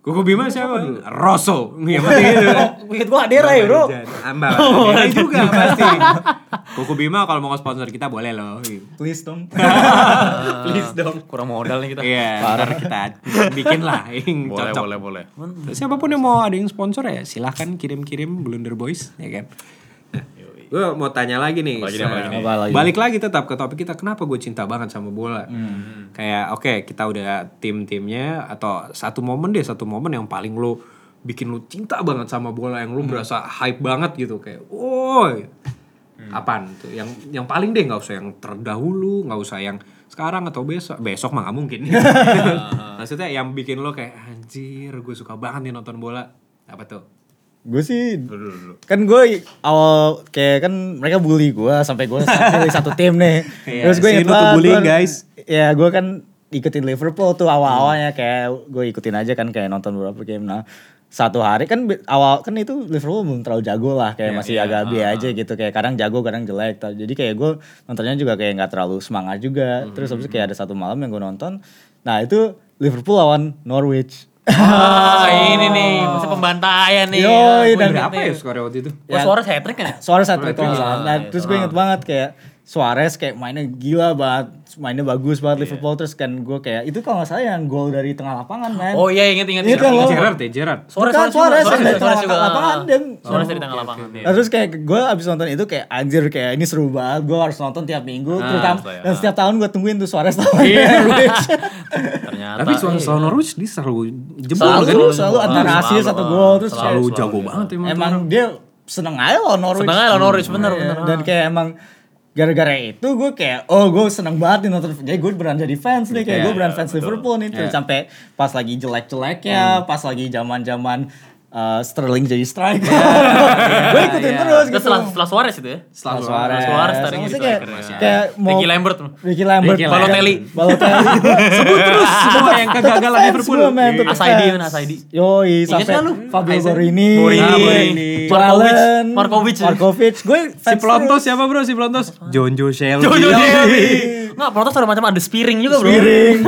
Speaker 1: Kuku Bima siapa? Rosso. Iya pasti itu.
Speaker 2: Wih, gua adera ya bro.
Speaker 3: Oh.
Speaker 1: Ambal. Adera juga pasti. Kuku Bima kalau mau sponsor kita boleh loh.
Speaker 2: Please dong.
Speaker 3: please dong. Kurang modal nih kita.
Speaker 1: Iya, ntar kita bikin lah yang
Speaker 3: Boleh,
Speaker 1: cocok.
Speaker 3: boleh, boleh.
Speaker 1: Siapapun yang mau ada yang sponsor ya silahkan kirim-kirim Blunder Boys ya kan. Gue mau tanya lagi nih.
Speaker 3: Apalagi nih, apalagi nih.
Speaker 1: Sa- Balik lagi tetap ke topik kita kenapa gue cinta banget sama bola. Kayak oke kita udah tim-timnya atau satu momen deh satu momen yang paling lo bikin lo cinta banget sama bola yang lo berasa hype banget gitu kayak woi apaan tuh yang yang paling deh nggak usah yang terdahulu nggak usah yang sekarang atau besok besok mah nggak mungkin maksudnya yang bikin lo kayak anjir gue suka banget nih nonton bola apa tuh
Speaker 2: Gue sih
Speaker 1: dulu dulu
Speaker 2: kan gue awal kayak kan mereka bully gue sampai gue pilih satu tim nih
Speaker 1: Iya,
Speaker 2: terus gue
Speaker 1: sini
Speaker 2: inget
Speaker 1: tuh
Speaker 2: banget,
Speaker 1: bullying,
Speaker 2: gua-
Speaker 1: guys.
Speaker 2: ya gue kan ikutin Liverpool tuh
Speaker 1: Hmm.
Speaker 2: awal-awalnya kayak gue ikutin aja kan kayak nonton beberapa game nah satu hari kan be- awal kan itu Liverpool belum terlalu jago lah
Speaker 1: Iya,
Speaker 2: kayak masih agak B
Speaker 1: ah,
Speaker 2: aja gitu kayak kadang jago kadang jelek tau. jadi kayak gue nontonnya juga kayak nggak terlalu semangat juga terus habis itu
Speaker 1: Hmm.
Speaker 2: kayak ada satu malam yang gue nonton nah itu Liverpool lawan Norwich
Speaker 3: Ah, ini nih, masa pembantaian nih.
Speaker 2: Yoi, dan-
Speaker 1: berapa ya skornya waktu itu
Speaker 3: Wah, suara saya trik kan ya?
Speaker 2: Suarez satu itu Nah, terus gue inget banget kayak Suarez kayak mainnya gila banget, mainnya bagus banget Liverpool terus kan gue kayak itu kalau nggak salah yang gol dari tengah lapangan man.
Speaker 3: Oh iya, inget inget.
Speaker 2: Iya,
Speaker 3: inget.
Speaker 2: kan, lo-
Speaker 1: Gerard ya Gerard
Speaker 3: Suara
Speaker 2: Bukan,
Speaker 3: suara suara
Speaker 2: Suarez yang dari
Speaker 3: suara
Speaker 2: tengah lapangan, dan-
Speaker 3: Suara dari tengah lapangan. iya.
Speaker 2: Nah, terus kayak gue abis nonton itu kayak anjir kayak ini seru banget, gue harus nonton tiap minggu, terutama dan setiap tahun gue tungguin tuh Suarez lawan Norwich.
Speaker 3: Ternyata.
Speaker 1: Tapi suara soal Norwich dia iya. selalu jebol
Speaker 3: Selalu,
Speaker 1: kan?
Speaker 2: Selalu selalu antara
Speaker 3: Selalu,
Speaker 2: asis satu
Speaker 3: selalu,
Speaker 2: gol terus
Speaker 1: Iya, Selalu ya.
Speaker 2: kayak-
Speaker 1: jago banget emang. tuh
Speaker 2: emang
Speaker 1: orang.
Speaker 2: dia seneng aja loh Norwich.
Speaker 3: Seneng aja lawan Norwich, bener,
Speaker 2: Iya,
Speaker 3: bener.
Speaker 2: Dan kayak emang gara-gara itu gue kayak oh gue seneng banget nih nonton jadi gue beneran jadi fans nih kayak
Speaker 3: Iya,
Speaker 2: gue beneran fans Liverpool nih terus sampai pas lagi
Speaker 3: Hmm.
Speaker 2: jelek-jeleknya pas lagi zaman-zaman uh, Sterling jadi striker gue ikutin terus
Speaker 3: Iya, Terus
Speaker 2: gitu
Speaker 3: setelah setelah Suarez itu ya.
Speaker 2: Setelah Suarez
Speaker 3: Suarez tadi
Speaker 2: Maksudnya
Speaker 3: gitu.
Speaker 2: kayak, kayak mau
Speaker 3: Ricky Lambert.
Speaker 2: Ricky Lambert
Speaker 1: Ricky
Speaker 3: Balotelli.
Speaker 2: Balotelli sebut terus
Speaker 1: Semua yang kegagalan
Speaker 2: fans
Speaker 1: Liverpool.
Speaker 2: gua,
Speaker 3: Iya.
Speaker 2: man, tetep
Speaker 3: Asaidi
Speaker 2: fans.
Speaker 3: mana Asaidi?
Speaker 2: Yoi,
Speaker 3: Ingat
Speaker 2: sampai
Speaker 3: nggak lu?
Speaker 2: Fabio
Speaker 3: Aizan.
Speaker 2: Borini,
Speaker 1: Borini,
Speaker 2: Nah,
Speaker 3: Markovic,
Speaker 2: Jalen,
Speaker 3: Markovic.
Speaker 2: Markovic. Gue
Speaker 1: Si
Speaker 2: fans
Speaker 1: Pelontos
Speaker 2: terus.
Speaker 1: siapa bro? Si Pelontos? Jonjo Shelby.
Speaker 3: Jojo Dewi. Nggak, protes ada macam ada spiring juga bro.
Speaker 2: Piring,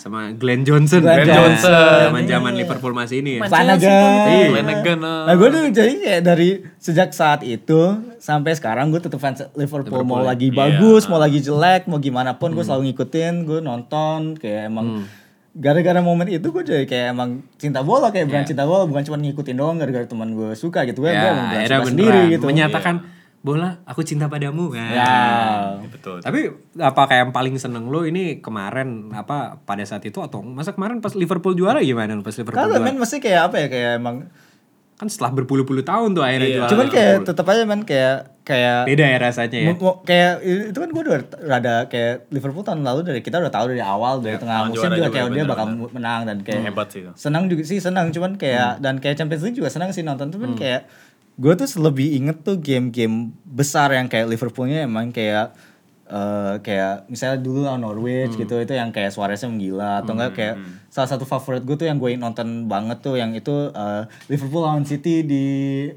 Speaker 1: Sama Glenn Johnson.
Speaker 2: Glenn
Speaker 3: Johnson.
Speaker 1: Zaman-zaman Liverpool masih ini ya.
Speaker 3: Main
Speaker 2: Flanagan.
Speaker 3: Iya. Flanagan, ah.
Speaker 2: Nah, gue tuh jadi kayak dari sejak saat itu sampai sekarang gue tetap fans Liverpool, mau lagi bagus, mau lagi jelek, mau gimana pun gue selalu ngikutin, gue nonton kayak emang gara-gara momen itu gue jadi kayak emang cinta bola kayak beneran cinta bola bukan cuma ngikutin doang gara-gara teman gue suka gitu gue
Speaker 1: Ya,
Speaker 2: emang beneran
Speaker 1: akhirnya
Speaker 2: suka sendiri
Speaker 1: beneran
Speaker 2: gitu.
Speaker 1: menyatakan bola aku cinta padamu. Nah.
Speaker 2: Ya.
Speaker 3: Betul.
Speaker 1: Tapi apa kayak yang paling seneng lo ini kemarin apa pada saat itu atau masa kemarin pas Liverpool juara gimana lu pas Liverpool
Speaker 2: Kagak
Speaker 1: juara?
Speaker 2: men mesti kayak apa ya kayak emang
Speaker 1: Kan setelah berpuluh-puluh tahun tuh
Speaker 3: Iya.
Speaker 1: akhirnya juara.
Speaker 2: cuman kayak tetap aja men kayak kayak
Speaker 1: beda ya rasanya ya.
Speaker 2: Mo- mo- kayak itu kan gue udah rada kayak Liverpool tahun lalu dari kita udah tahu dari awal dari tengah
Speaker 3: tahun
Speaker 2: musim
Speaker 3: Iya, juara
Speaker 2: juga
Speaker 3: juga,
Speaker 2: kayak dia
Speaker 3: bener,
Speaker 2: bakal menang dan kayak
Speaker 3: Hebat sih itu. Hmm.
Speaker 2: senang juga sih senang cuman kayak dan kayak Champions League juga senang sih nonton cuman kayak gue tuh lebih inget tuh game-game besar yang kayak Liverpoolnya emang kayak eh, kayak misalnya dulu lawan Norwich
Speaker 3: Hmm.
Speaker 2: gitu itu yang kayak Suareznya menggila atau enggak kayak salah satu favorit gue tuh yang gue nonton banget tuh yang itu eh, Liverpool lawan City di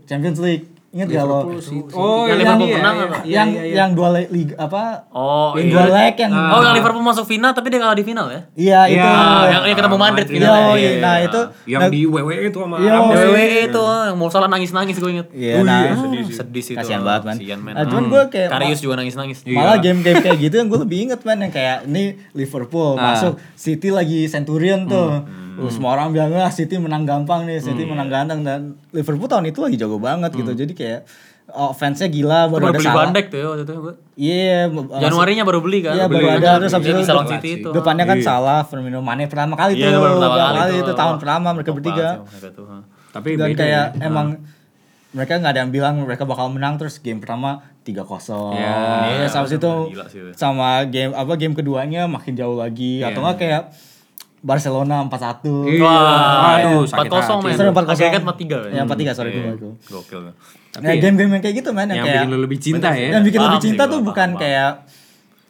Speaker 2: Champions League Ingat gak lo?
Speaker 1: Oh, yang ini
Speaker 3: Yang Liverpool
Speaker 1: ya,
Speaker 3: menang
Speaker 1: iya,
Speaker 3: apa?
Speaker 1: iya,
Speaker 2: yang
Speaker 1: iya, iya.
Speaker 2: yang dua leg liga apa
Speaker 3: Oh,
Speaker 2: yang
Speaker 3: iya.
Speaker 2: dua leg yang
Speaker 3: Oh, yang Liverpool masuk final tapi dia kalah di final ya.
Speaker 2: iya itu
Speaker 3: Ah, yang, yang ketemu
Speaker 1: Madrid.
Speaker 3: Madrid gitu.
Speaker 2: Yoi,
Speaker 3: Iya, iya,
Speaker 2: nah
Speaker 3: iya.
Speaker 2: itu
Speaker 1: yang di WWE itu sama
Speaker 2: Iya.
Speaker 1: Rambo.
Speaker 3: WWE E itu yang mau salah nangis-nangis gue inget.
Speaker 2: Iya, nah.
Speaker 3: sedih sih. Sedih sih itu.
Speaker 2: kasihan banget man,
Speaker 3: Kasihan, man. Hmm.
Speaker 2: Nah, cuman gue kayak
Speaker 3: Karius juga nangis-nangis.
Speaker 2: malah game-game kayak gitu yang gue lebih inget man yang kayak ini Liverpool
Speaker 3: Ah.
Speaker 2: masuk City lagi Centurion tuh
Speaker 3: Hmm.
Speaker 2: Uh, semua orang bilang ah City menang gampang nih City menang ganteng dan Liverpool tahun itu lagi jago banget gitu jadi kayak offense-nya gila
Speaker 3: Hmm. Baru
Speaker 2: baru ada
Speaker 3: beli
Speaker 2: salah
Speaker 3: bandek tuh ya waktu itu gue.
Speaker 2: iya uh,
Speaker 3: Januarinya baru beli kan.
Speaker 2: Iya baru
Speaker 3: Beli.
Speaker 2: ada terus habis
Speaker 3: Jadi
Speaker 2: itu
Speaker 3: bisa lawan
Speaker 2: dep-
Speaker 3: City itu.
Speaker 2: Depannya kan salah Firmino Mane pertama kali
Speaker 3: Iya,
Speaker 2: tuh.
Speaker 3: baru pertama
Speaker 2: pertama
Speaker 3: kali
Speaker 2: kali
Speaker 3: tuh.
Speaker 2: itu tahun pertama mereka
Speaker 3: Top
Speaker 2: bertiga.
Speaker 3: banget sih mereka tuh, ha.
Speaker 1: Tapi
Speaker 2: Dan
Speaker 1: beda
Speaker 2: kayak
Speaker 1: ya.
Speaker 2: emang mereka nggak ada yang bilang mereka bakal menang terus game pertama 3-0.
Speaker 1: Iya.
Speaker 2: Terus habis itu
Speaker 3: Gila sih itu.
Speaker 2: sama game apa game keduanya makin jauh lagi atau nggak kayak Barcelona 4-1.
Speaker 1: Iya.
Speaker 3: Wah,
Speaker 1: Wah,
Speaker 3: itu
Speaker 1: itu sakit
Speaker 3: 4-0 men.
Speaker 2: Seru 4-0.
Speaker 3: Agregat 4-3 kan.
Speaker 2: Ya 4-3 sorry gue. gue.
Speaker 3: Gokil. kan.
Speaker 2: Nah, game-game yang kayak gitu men yang
Speaker 1: yang
Speaker 2: kayak
Speaker 1: bikin lo lebih cinta ya.
Speaker 2: yang bikin
Speaker 3: Paham
Speaker 2: lebih
Speaker 3: sih
Speaker 2: cinta
Speaker 3: gua,
Speaker 2: tuh
Speaker 3: paham,
Speaker 2: bukan
Speaker 3: paham.
Speaker 2: kayak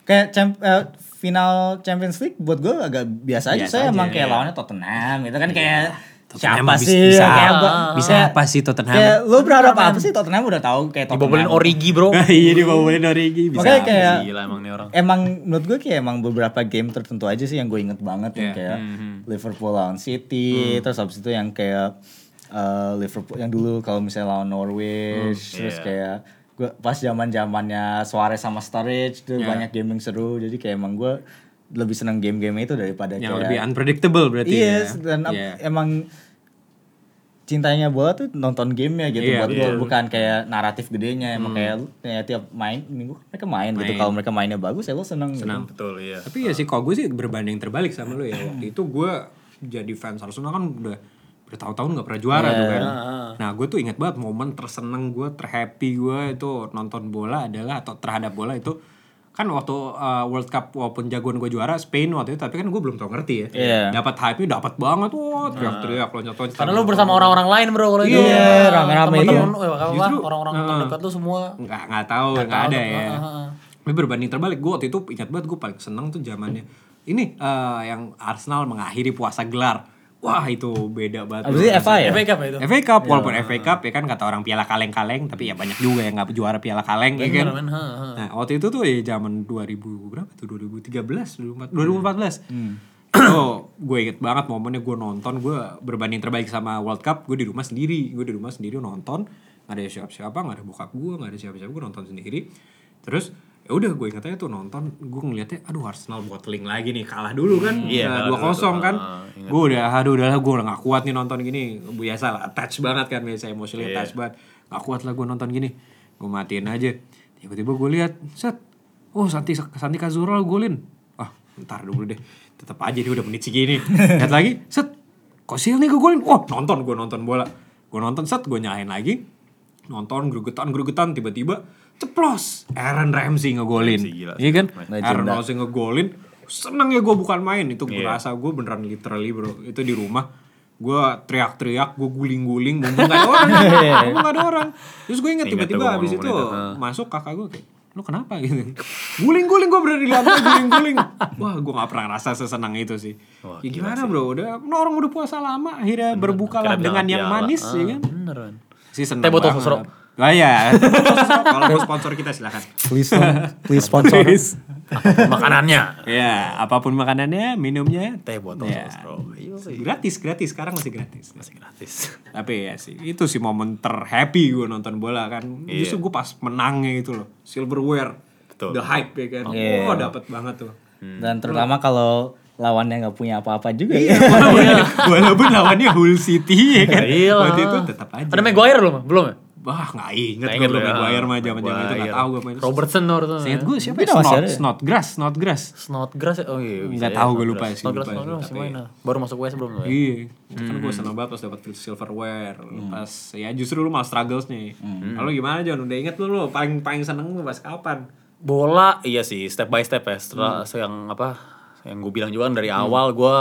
Speaker 2: kayak champ- eh, final Champions League buat gue agak biasa aja.
Speaker 1: Biasa aja,
Speaker 2: saya emang kayak
Speaker 1: iya.
Speaker 2: lawannya Tottenham gitu kan kayak Siapa
Speaker 5: Tottenham
Speaker 2: sih?
Speaker 5: Bisa,
Speaker 2: Iya,
Speaker 5: bisa,
Speaker 2: Kayak apa?
Speaker 5: bisa
Speaker 2: Kayak-
Speaker 5: apa sih Tottenham?
Speaker 2: Kayak lu berharap apa sih Tottenham udah tahu kayak Tottenham.
Speaker 3: Dibobolin Origi bro.
Speaker 5: Iya
Speaker 1: E
Speaker 5: dibawain Origi bisa.
Speaker 2: Makanya kayak
Speaker 3: Gila emang nih orang.
Speaker 2: emang menurut gue kayak emang beberapa game tertentu aja sih yang gue inget banget
Speaker 5: Iya.
Speaker 2: yang kayak
Speaker 5: Hmm,
Speaker 2: Liverpool lawan City terus habis itu yang kayak eh, Liverpool yang dulu kalau misalnya lawan
Speaker 5: Hmm,
Speaker 2: Norwich
Speaker 5: iya.
Speaker 2: terus kayak gue pas zaman zamannya Suarez sama
Speaker 5: Iya.
Speaker 2: Sturridge tuh banyak game yang seru jadi kayak emang gue lebih seneng game-game itu daripada
Speaker 1: Yang
Speaker 2: kayak
Speaker 1: lebih unpredictable berarti
Speaker 2: Yes,
Speaker 1: ya.
Speaker 2: dan ap-
Speaker 1: Iya.
Speaker 2: emang cintanya bola tuh nonton gamenya gitu
Speaker 1: Iya, Hmm.
Speaker 2: buat gue bukan kayak naratif gedenya emang kayak lu- kayak tiap main minggu mereka main, gitu kalau mereka mainnya bagus ya lo seneng,
Speaker 1: Senang.
Speaker 2: gitu.
Speaker 3: Betul iya.
Speaker 1: Tapi ya sih kalau gue sih berbanding terbalik sama lu ya. Waktu itu gue jadi fans Arsenal kan udah bertahun-tahun gak pernah juara
Speaker 3: Iya.
Speaker 1: tuh
Speaker 3: Ah,
Speaker 1: kan. Nah gue tuh ingat banget momen terseneng gue, terhappy gue itu nonton bola adalah atau terhadap bola itu kan waktu uh, World Cup walaupun jagoan gue juara Spain waktu itu tapi kan gue belum tau ngerti ya.
Speaker 2: Iya.
Speaker 1: Dapat hype-nya dapat banget wah teriak-teriak loncat-loncat.
Speaker 3: Ah. Karena lu bersama orang-orang lain bro kalau itu.
Speaker 2: Iya, rame-rame,
Speaker 3: Temen-temen,
Speaker 2: iya.
Speaker 3: eh, apa,
Speaker 1: Justru,
Speaker 3: orang-orang
Speaker 1: heeh.
Speaker 3: terdekat lu semua.
Speaker 1: nggak nggak tahu nggak ada ya tapi berbanding terbalik gue waktu itu ingat banget gue paling seneng tuh zamannya ini eh, yang Arsenal mengakhiri puasa gelar wah itu beda banget
Speaker 2: Abis itu FA ya?
Speaker 5: Baik apa itu?
Speaker 1: FA Cup walaupun FA Cup ya kan kata orang piala kaleng-kaleng tapi ya banyak juga yang nggak juara piala kaleng ya kan
Speaker 3: Men, heeh, heeh.
Speaker 1: nah waktu itu tuh ya zaman 2000 berapa tuh 2013 2014 2014 Oh, gue inget banget momennya gue nonton gue berbanding terbaik sama World Cup gue di rumah sendiri gue di rumah sendiri nonton nggak ada siapa-siapa nggak ada bokap gue nggak ada siapa-siapa gue nonton sendiri terus ya udah gue inget aja tuh nonton gue ngeliatnya aduh Arsenal bottling lagi nih kalah dulu kan dua kosong kan gue udah aduh udahlah gue udah gak kuat nih nonton gini biasa lah attach banget kan biasa emosional attach banget gak kuat lah gue nonton gini gue matiin aja tiba-tiba gue lihat set Oh Santi Santi Cazorla golin. Ah, ntar dulu deh. Tetap aja dia udah menit segini. Lihat lagi, set. Kosil nih gue golin. Wah, nonton gue nonton bola. Gue nonton set, gue nyalain lagi. Nonton gregetan-gregetan tiba-tiba ceplos. Aaron Ramsey ngegolin. Iya kan? Aaron Ramsey ngegolin. Seneng ya gue bukan main itu gue rasa gue beneran literally bro itu di rumah gue teriak-teriak gue guling-guling mumpung gak ada orang mumpung gak ada orang terus gue inget tiba-tiba abis itu masuk kakak gue kayak lu kenapa gitu guling-guling gue berada di lantai guling-guling wah gue gak pernah rasa sesenang itu sih ya gimana bro udah nah, orang udah puasa lama akhirnya berbuka lah dengan yang manis ya kan
Speaker 3: Bener kan?
Speaker 1: sih senang
Speaker 3: Teh botol
Speaker 1: banget.
Speaker 3: sosro.
Speaker 1: Lah ya, teh botol sosro. kalau mau sponsor kita silakan.
Speaker 2: please dong, please sponsor
Speaker 3: Apapun makanannya.
Speaker 1: Ya, apapun makanannya, minumnya,
Speaker 3: Teh botol
Speaker 1: Ya.
Speaker 3: sosro.
Speaker 1: gratis, gratis. Sekarang masih gratis.
Speaker 3: iya. Masih gratis.
Speaker 1: Tapi ya sih, itu sih momen terhappy gue nonton bola kan.
Speaker 3: Iya.
Speaker 1: Justru gue pas menangnya itu loh, silverware, the hype ya kan.
Speaker 3: Iya.
Speaker 1: Oh, dapat banget tuh.
Speaker 2: Hmm. dan terutama kalau lawannya nggak punya apa-apa juga
Speaker 1: Iya.
Speaker 2: ya
Speaker 1: Walaupun lawannya Hull City ya kan.
Speaker 3: Iya lah.
Speaker 1: Waktu itu tetap aja.
Speaker 3: Ada Maguire belum? Belum ya?
Speaker 1: Wah, nggak inget
Speaker 3: Nggak
Speaker 1: gue
Speaker 3: inget
Speaker 1: belum
Speaker 3: lu ya.
Speaker 1: Maguire mah zaman-zaman itu nggak tahu gue main.
Speaker 3: Robertson tuh waktu itu.
Speaker 1: Seinget gue siapa? ya?
Speaker 2: Mungkin masih
Speaker 1: Snot,
Speaker 2: ada ya?
Speaker 1: Snodgrass, Snodgrass.
Speaker 3: Snodgrass ya? oh iya bisa
Speaker 1: Nggak
Speaker 3: ya,
Speaker 1: tahu, gue
Speaker 3: Snodgrass.
Speaker 1: lupa sih, gue
Speaker 3: Snodgrass
Speaker 1: lupa
Speaker 3: Snodgrass
Speaker 1: sih,
Speaker 3: masih
Speaker 1: tapi-
Speaker 3: main lah. baru masuk US belum ya?
Speaker 1: Iya, itu kan gue seneng banget pas dapat silverware, lu pas ya justru lu malah struggles nih. Kalau gimana John, udah inget lu lu paling paling seneng lu pas kapan?
Speaker 3: bola iya sih step by step ya setelah se- yang apa yang gue bilang juga kan dari awal gue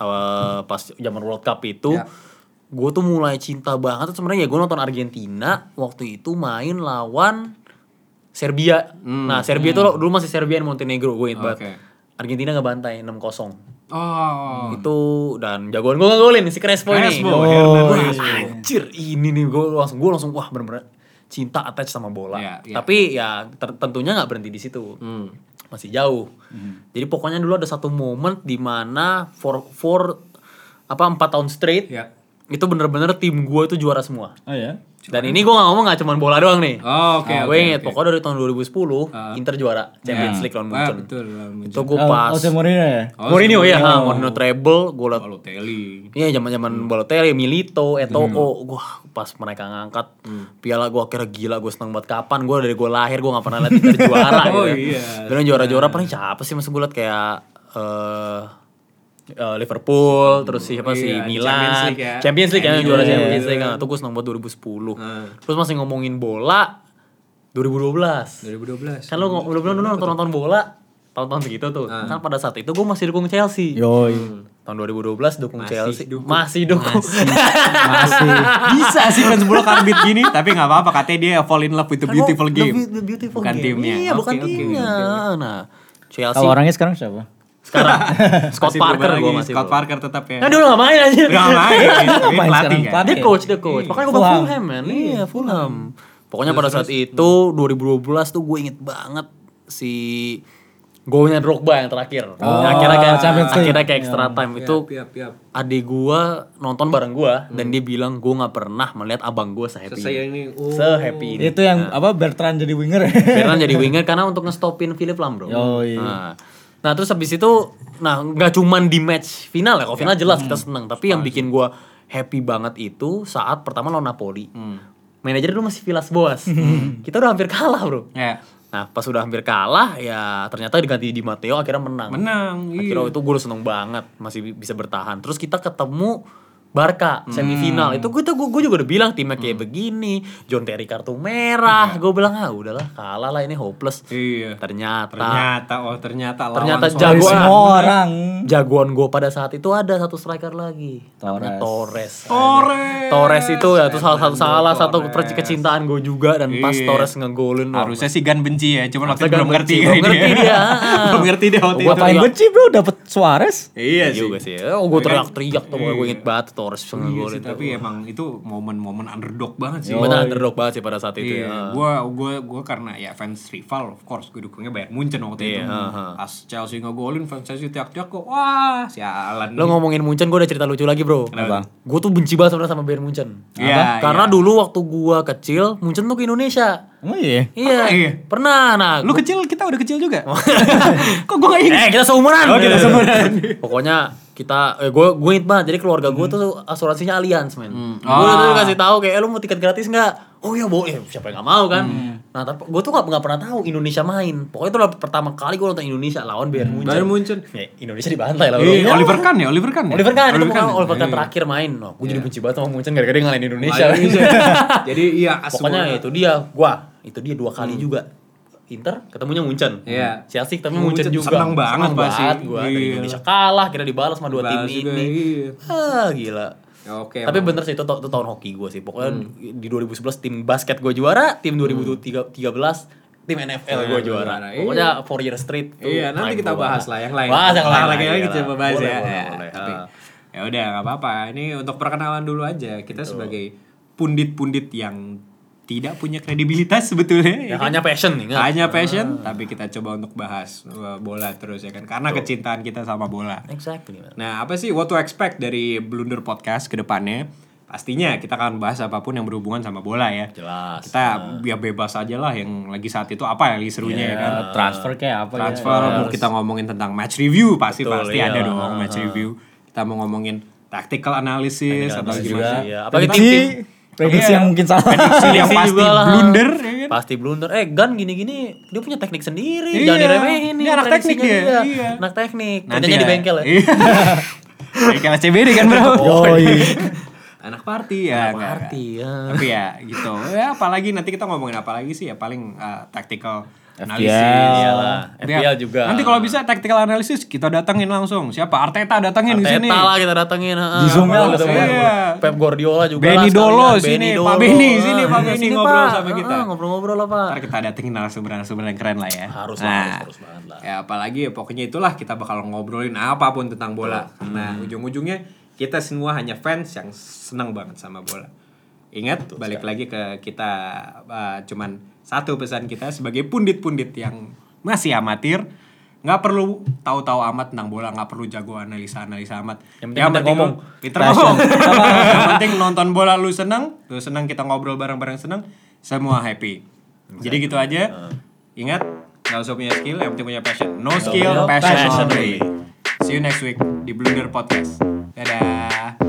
Speaker 3: uh, pas zaman World Cup itu gue tuh mulai cinta banget Tuh sebenarnya ya gue nonton Argentina waktu itu main lawan Serbia nah Serbia itu lo- dulu masih Serbia dan Montenegro gue ingat banget
Speaker 1: Oke.
Speaker 3: Argentina nggak bantai 6-0
Speaker 1: Oh,
Speaker 3: itu dan jagoan gue ngegolin si Crespo, ini
Speaker 1: Crespo,
Speaker 3: Gua,
Speaker 1: Hernan
Speaker 3: wah,
Speaker 1: Crespo.
Speaker 3: anjir ini nih gue langsung gue langsung wah bener-bener cinta attach sama bola
Speaker 1: Iya, Hmm. iya.
Speaker 3: tapi ya ter- tentunya nggak berhenti di situ masih jauh
Speaker 1: Hmm.
Speaker 3: jadi pokoknya dulu ada satu momen di mana for for apa empat tahun straight
Speaker 1: Iya.
Speaker 3: itu bener-bener tim gue itu juara semua
Speaker 2: oh ya
Speaker 3: dan ini gue gak ngomong gak cuman bola doang nih
Speaker 1: Oh, oke,
Speaker 3: gue
Speaker 1: oke,
Speaker 3: inget
Speaker 1: oke. Iya.
Speaker 3: pokoknya dari tahun 2010 Inter juara Champions League lawan
Speaker 1: Wah,
Speaker 3: Munchen
Speaker 1: betul lawan
Speaker 3: itu
Speaker 1: Munchen.
Speaker 3: gue
Speaker 2: oh,
Speaker 3: pas
Speaker 2: Jose Mourinho ya
Speaker 1: Oh,
Speaker 3: Mourinho ya,
Speaker 1: Mourinho.
Speaker 3: ha, Mourinho treble, gue liat
Speaker 1: Kalau Oh, Teli,
Speaker 3: Iya
Speaker 1: Hmm.
Speaker 3: zaman-zaman Balotelli, Milito, Eto'o, gua pas mereka ngangkat
Speaker 1: Hmm.
Speaker 3: piala gua kira gila gue seneng banget kapan gua dari gua lahir gua nggak pernah lihat Inter juara gitu.
Speaker 1: Oh,
Speaker 3: ya.
Speaker 1: iya.
Speaker 3: Dan juara-juara paling siapa sih masa gue liat kayak eh eh, Liverpool, terus siapa sih
Speaker 1: Iya, di
Speaker 3: Milan,
Speaker 1: Champions League ya.
Speaker 3: Champions League ya,
Speaker 1: MU,
Speaker 3: juara
Speaker 1: iya,
Speaker 3: Champions
Speaker 1: iya.
Speaker 3: League kan, tuh gue seneng banget 2010.
Speaker 1: Hmm.
Speaker 3: Terus masih ngomongin bola
Speaker 1: Iya.
Speaker 3: 2012.
Speaker 1: 2012.
Speaker 3: Kan lo belum belum nonton nonton bola tahun-tahun segitu tuh.
Speaker 1: Hmm.
Speaker 3: Kan pada saat itu gue masih dukung Chelsea
Speaker 2: yoi
Speaker 3: tahun 2012 dukung
Speaker 1: Masih
Speaker 3: Chelsea
Speaker 1: dukung.
Speaker 3: masih dukung
Speaker 2: masih
Speaker 1: Bisa sih kan fans bola karbit gini, tapi nggak apa-apa. Katanya dia fall in love with the beautiful
Speaker 3: The
Speaker 1: game,
Speaker 3: be- the beautiful
Speaker 1: bukan
Speaker 3: game.
Speaker 1: timnya.
Speaker 3: iya
Speaker 1: Oke,
Speaker 3: bukan
Speaker 1: oke, oke,
Speaker 3: timnya
Speaker 1: oke.
Speaker 3: nah Chelsea
Speaker 2: kalau orangnya sekarang siapa
Speaker 3: sekarang.
Speaker 1: Masih
Speaker 3: Scott
Speaker 1: berubah
Speaker 3: Parker
Speaker 1: lagi.
Speaker 3: gue masih.
Speaker 1: Scott
Speaker 3: bro.
Speaker 1: Parker tetap ya.
Speaker 3: Nah, dia udah gak main anjir.
Speaker 1: Gak main. Tapi
Speaker 2: Main
Speaker 1: pelatih
Speaker 2: sekarang
Speaker 1: kan.
Speaker 2: pelatih.
Speaker 3: Dia coach, dia coach. Makanya gue bilang
Speaker 2: Fulham.
Speaker 3: Fulham, man. Iya, Fulham. Pokoknya pada saat itu 2012 tuh gue inget banget si golnya Drogba yang terakhir. akhirnya kayak
Speaker 2: Champions League.
Speaker 3: akhirnya kayak extra time itu
Speaker 1: Yap, yap.
Speaker 3: adik gua nonton bareng gua dan dia bilang gua nggak pernah melihat abang gua sehappy
Speaker 1: Saya
Speaker 3: ini.
Speaker 1: ini oh.
Speaker 3: Sehappy ini.
Speaker 2: Itu yang
Speaker 1: Nah.
Speaker 2: apa Bertrand jadi winger. ya?
Speaker 3: Fernand jadi winger karena untuk ngestopin Philip Lam bro.
Speaker 2: Oh, iya.
Speaker 3: Nah, nah, terus habis itu, nah nggak cuman di match final ya, kalau final jelas kita seneng. Tapi yang bikin gua happy banget itu saat pertama lawan Napoli. Manajer dulu masih Vilas Boas. Kita udah hampir kalah bro.
Speaker 1: Ya.
Speaker 3: Nah pas udah hampir kalah ya ternyata diganti di Matteo akhirnya menang.
Speaker 1: Menang. iya.
Speaker 3: Akhirnya itu gue udah seneng banget masih bi- bisa bertahan. Terus kita ketemu Barca semifinal
Speaker 1: Hmm.
Speaker 3: itu gue gue juga udah bilang timnya kayak begini John Terry kartu merah gue bilang ah udahlah kalah lah ini hopeless
Speaker 1: Iya.
Speaker 3: ternyata
Speaker 1: Ternyata oh ternyata lawan
Speaker 3: ternyata
Speaker 1: soal-
Speaker 2: Dari
Speaker 3: jagoan
Speaker 2: semua orang.
Speaker 3: jagoan gue pada saat itu ada satu striker lagi namanya Torres
Speaker 1: Torres.
Speaker 3: Torres itu ya itu salah satu salah satu perci- kecintaan gue juga dan pas
Speaker 1: Iya.
Speaker 3: Torres ngegolin wah,
Speaker 1: Harusnya sih Gan benci ya, cuman waktu itu
Speaker 3: Gan
Speaker 1: belum ngerti
Speaker 3: benci, belum ngerti dia.
Speaker 1: belum ngerti dia waktu
Speaker 3: Gua
Speaker 1: itu.
Speaker 2: Paling
Speaker 3: Iya.
Speaker 2: benci bro dapat Suarez.
Speaker 1: Iya
Speaker 3: Iya
Speaker 1: sih.
Speaker 3: juga sih. Oh, gue teriak-teriak tuh. Gue inget banget Torres
Speaker 1: Iya
Speaker 3: ngegolin
Speaker 1: sih,
Speaker 3: tuh.
Speaker 1: tapi emang itu momen-momen underdog banget sih.
Speaker 3: Bener underdog banget sih pada saat itu.
Speaker 1: Iya,
Speaker 3: ya.
Speaker 1: gua gua gua karena ya fans rival of course gue dukungnya Bayern Munchen waktu
Speaker 3: Iya,
Speaker 1: itu.
Speaker 3: heeh.
Speaker 1: Pas Chelsea ngegolin fans Chelsea teriak-teriak kok wah sialan.
Speaker 3: Lo ngomongin Munchen, gue ada cerita lucu lagi bro.
Speaker 1: Iya. Kenapa?
Speaker 3: Gue tuh benci banget sebenarnya sama Bayern Munchen.
Speaker 1: Iya,
Speaker 3: Karena
Speaker 1: iya.
Speaker 3: dulu waktu gue kecil, Munchen tuh ke Indonesia.
Speaker 2: Emang iya.
Speaker 3: Iya,
Speaker 1: iya?
Speaker 3: pernah. Nah,
Speaker 1: Lu
Speaker 3: gua-
Speaker 1: kecil kita udah kecil juga. kok gua gak ingat?
Speaker 3: eh kita seumuran.
Speaker 1: Oh, kita seumuran.
Speaker 3: Pokoknya kita, eh, gue gue inget banget. Jadi keluarga gue tuh asuransinya Allianz men. Gue
Speaker 1: Ah.
Speaker 3: tuh kasih tahu kayak, eh, lu mau tiket gratis nggak? Oh iya boleh, siapa yang gak mau kan?
Speaker 1: Hmm.
Speaker 3: Nah, tapi gue tuh gak, gak pernah tahu Indonesia main. Pokoknya itu lah pertama kali gue nonton Indonesia lawan Bayern Munchen.
Speaker 1: Hmm. Bayern Munchen.
Speaker 3: Ya, Indonesia dibantai lah. bro.
Speaker 1: Iya, Oliver Kahn ya, Oliver Kahn. ya?
Speaker 3: Oliver kan, itu pokoknya
Speaker 1: Kahn.
Speaker 3: Oliver Kahn
Speaker 1: Iya.
Speaker 3: terakhir main. Nah, gue jadi benci banget sama Munchen gara-gara dia ngalahin Indonesia.
Speaker 1: Wah, Indonesia. Jadi iya asal
Speaker 3: Pokoknya itu dia, gua itu dia dua kali juga. Inter ketemunya Munchen.
Speaker 1: Hmm. Iya.
Speaker 3: Chelsea ketemu
Speaker 1: Ketemu
Speaker 3: Munchen
Speaker 1: Munchen.
Speaker 3: juga.
Speaker 1: Seneng banget pasti.
Speaker 3: gua dari
Speaker 1: Iya.
Speaker 3: Indonesia kalah, kira dibalas sama dua tim
Speaker 1: Balas juga,
Speaker 3: ini.
Speaker 1: iya.
Speaker 3: Ah, gila.
Speaker 1: Ya, Oke.
Speaker 3: Tapi
Speaker 1: emang. Hmm.
Speaker 3: bener sih itu, ta- itu tahun hoki gue sih. Pokoknya di 2011 tim basket gue juara, tim 2013 tim NFL gue juara.
Speaker 1: juara, iya.
Speaker 3: Pokoknya four year street. tuh
Speaker 1: Iya, nanti
Speaker 3: prime
Speaker 1: kita
Speaker 3: gua
Speaker 1: bahas
Speaker 3: banget.
Speaker 1: lah yang lain.
Speaker 3: Bahas yang lain.
Speaker 1: Lagi
Speaker 3: lah,
Speaker 1: lagi
Speaker 3: iyalah.
Speaker 1: coba bahas
Speaker 3: Boleh,
Speaker 1: ya.
Speaker 3: boleh,
Speaker 1: Ya,
Speaker 3: boleh.
Speaker 1: Tapi
Speaker 3: Ah.
Speaker 1: ya udah nggak apa-apa. Ini untuk perkenalan dulu aja. Kita sebagai pundit-pundit yang tidak punya kredibilitas sebetulnya. ya
Speaker 3: Ya, Ah.
Speaker 1: kan?
Speaker 3: hanya passion nih. nggak?
Speaker 1: Hanya passion, tapi kita coba untuk bahas uh, bola terus ya kan. Karena kecintaan kita sama bola.
Speaker 3: Exactly. man.
Speaker 1: Nah, apa sih what to expect dari Blunder Podcast ke depannya? Pastinya kita akan bahas apapun yang berhubungan sama bola ya.
Speaker 3: Jelas. Ah.
Speaker 1: Kita ya bebas aja lah yang lagi saat itu apa yang lagi serunya
Speaker 3: Iya,
Speaker 1: ya kan.
Speaker 2: Iya Transfer kayak apa ya?
Speaker 1: Transfer, mau kita ngomongin tentang match review pasti
Speaker 3: Betul,
Speaker 1: pasti
Speaker 3: iya.
Speaker 1: ada dong match review. Kita mau ngomongin tactical analysis atau gimana.
Speaker 3: Iya, apalagi
Speaker 2: Prediksi, prediksi yang mungkin salah.
Speaker 1: Prediksi yang
Speaker 3: Prediksi
Speaker 1: pasti
Speaker 3: juga lah.
Speaker 1: blunder ya kan.
Speaker 3: Pasti blunder. Eh, Gan gini-gini dia punya teknik sendiri.
Speaker 1: Iya.
Speaker 3: Jangan diremehin nih.
Speaker 1: Ini anak teknik
Speaker 3: prediksinya
Speaker 1: dia.
Speaker 3: dia.
Speaker 1: Iya.
Speaker 3: Anak teknik.
Speaker 1: Nanti
Speaker 3: Kerjanya di bengkel ya.
Speaker 1: Iya. Bengkel SCBD kan bro. Anak party ya.
Speaker 3: Anak
Speaker 1: enggak,
Speaker 3: party,
Speaker 1: enggak.
Speaker 3: ya.
Speaker 1: Tapi ya gitu. Ya apalagi nanti kita ngomongin apa lagi sih ya paling eh, tactical analysis.
Speaker 3: Iyalah,
Speaker 1: Nanti
Speaker 3: FPL juga.
Speaker 1: Nanti kalau bisa tactical analysis kita datengin langsung. Siapa? Arteta datengin ke sini.
Speaker 3: Teta lah kita datengin. Di
Speaker 2: Zoom ya.
Speaker 1: Iya.
Speaker 3: Pep Guardiola juga
Speaker 1: Benny
Speaker 3: lah sekalian.
Speaker 1: Dolo
Speaker 3: Benny
Speaker 1: sini, Pak
Speaker 3: Dolo.
Speaker 1: Benny, sini,
Speaker 3: Ah,
Speaker 1: Pak Benny
Speaker 3: sini,
Speaker 1: ngobrol
Speaker 3: Pak.
Speaker 1: sama kita.
Speaker 3: Ah, Ngobrol-ngobrol lah, Pak.
Speaker 1: Ntar kita datengin narasumber-narasumber yang keren lah ya.
Speaker 3: Harus lah,
Speaker 1: nah,
Speaker 3: harus, harus banget lah.
Speaker 1: Ya apalagi ya pokoknya itulah kita bakal ngobrolin apapun tentang bola.
Speaker 3: Hmm.
Speaker 1: Karena ujung-ujungnya kita semua hanya fans yang senang banget sama bola. Ingat balik lagi ke kita uh, cuman satu pesan kita sebagai pundit-pundit yang masih amatir nggak perlu tahu-tahu amat tentang bola nggak perlu jago analisa analisa amat
Speaker 3: Yang penting pintar ngomong.
Speaker 1: lu- pintar ngomong yang penting nonton bola lu senang lu senang kita ngobrol bareng-bareng senang semua happy jadi gitu aja ingat nggak usah punya skill yang penting punya passion no skill passion,
Speaker 3: passion
Speaker 1: only. see you next week di Blunder Podcast dadah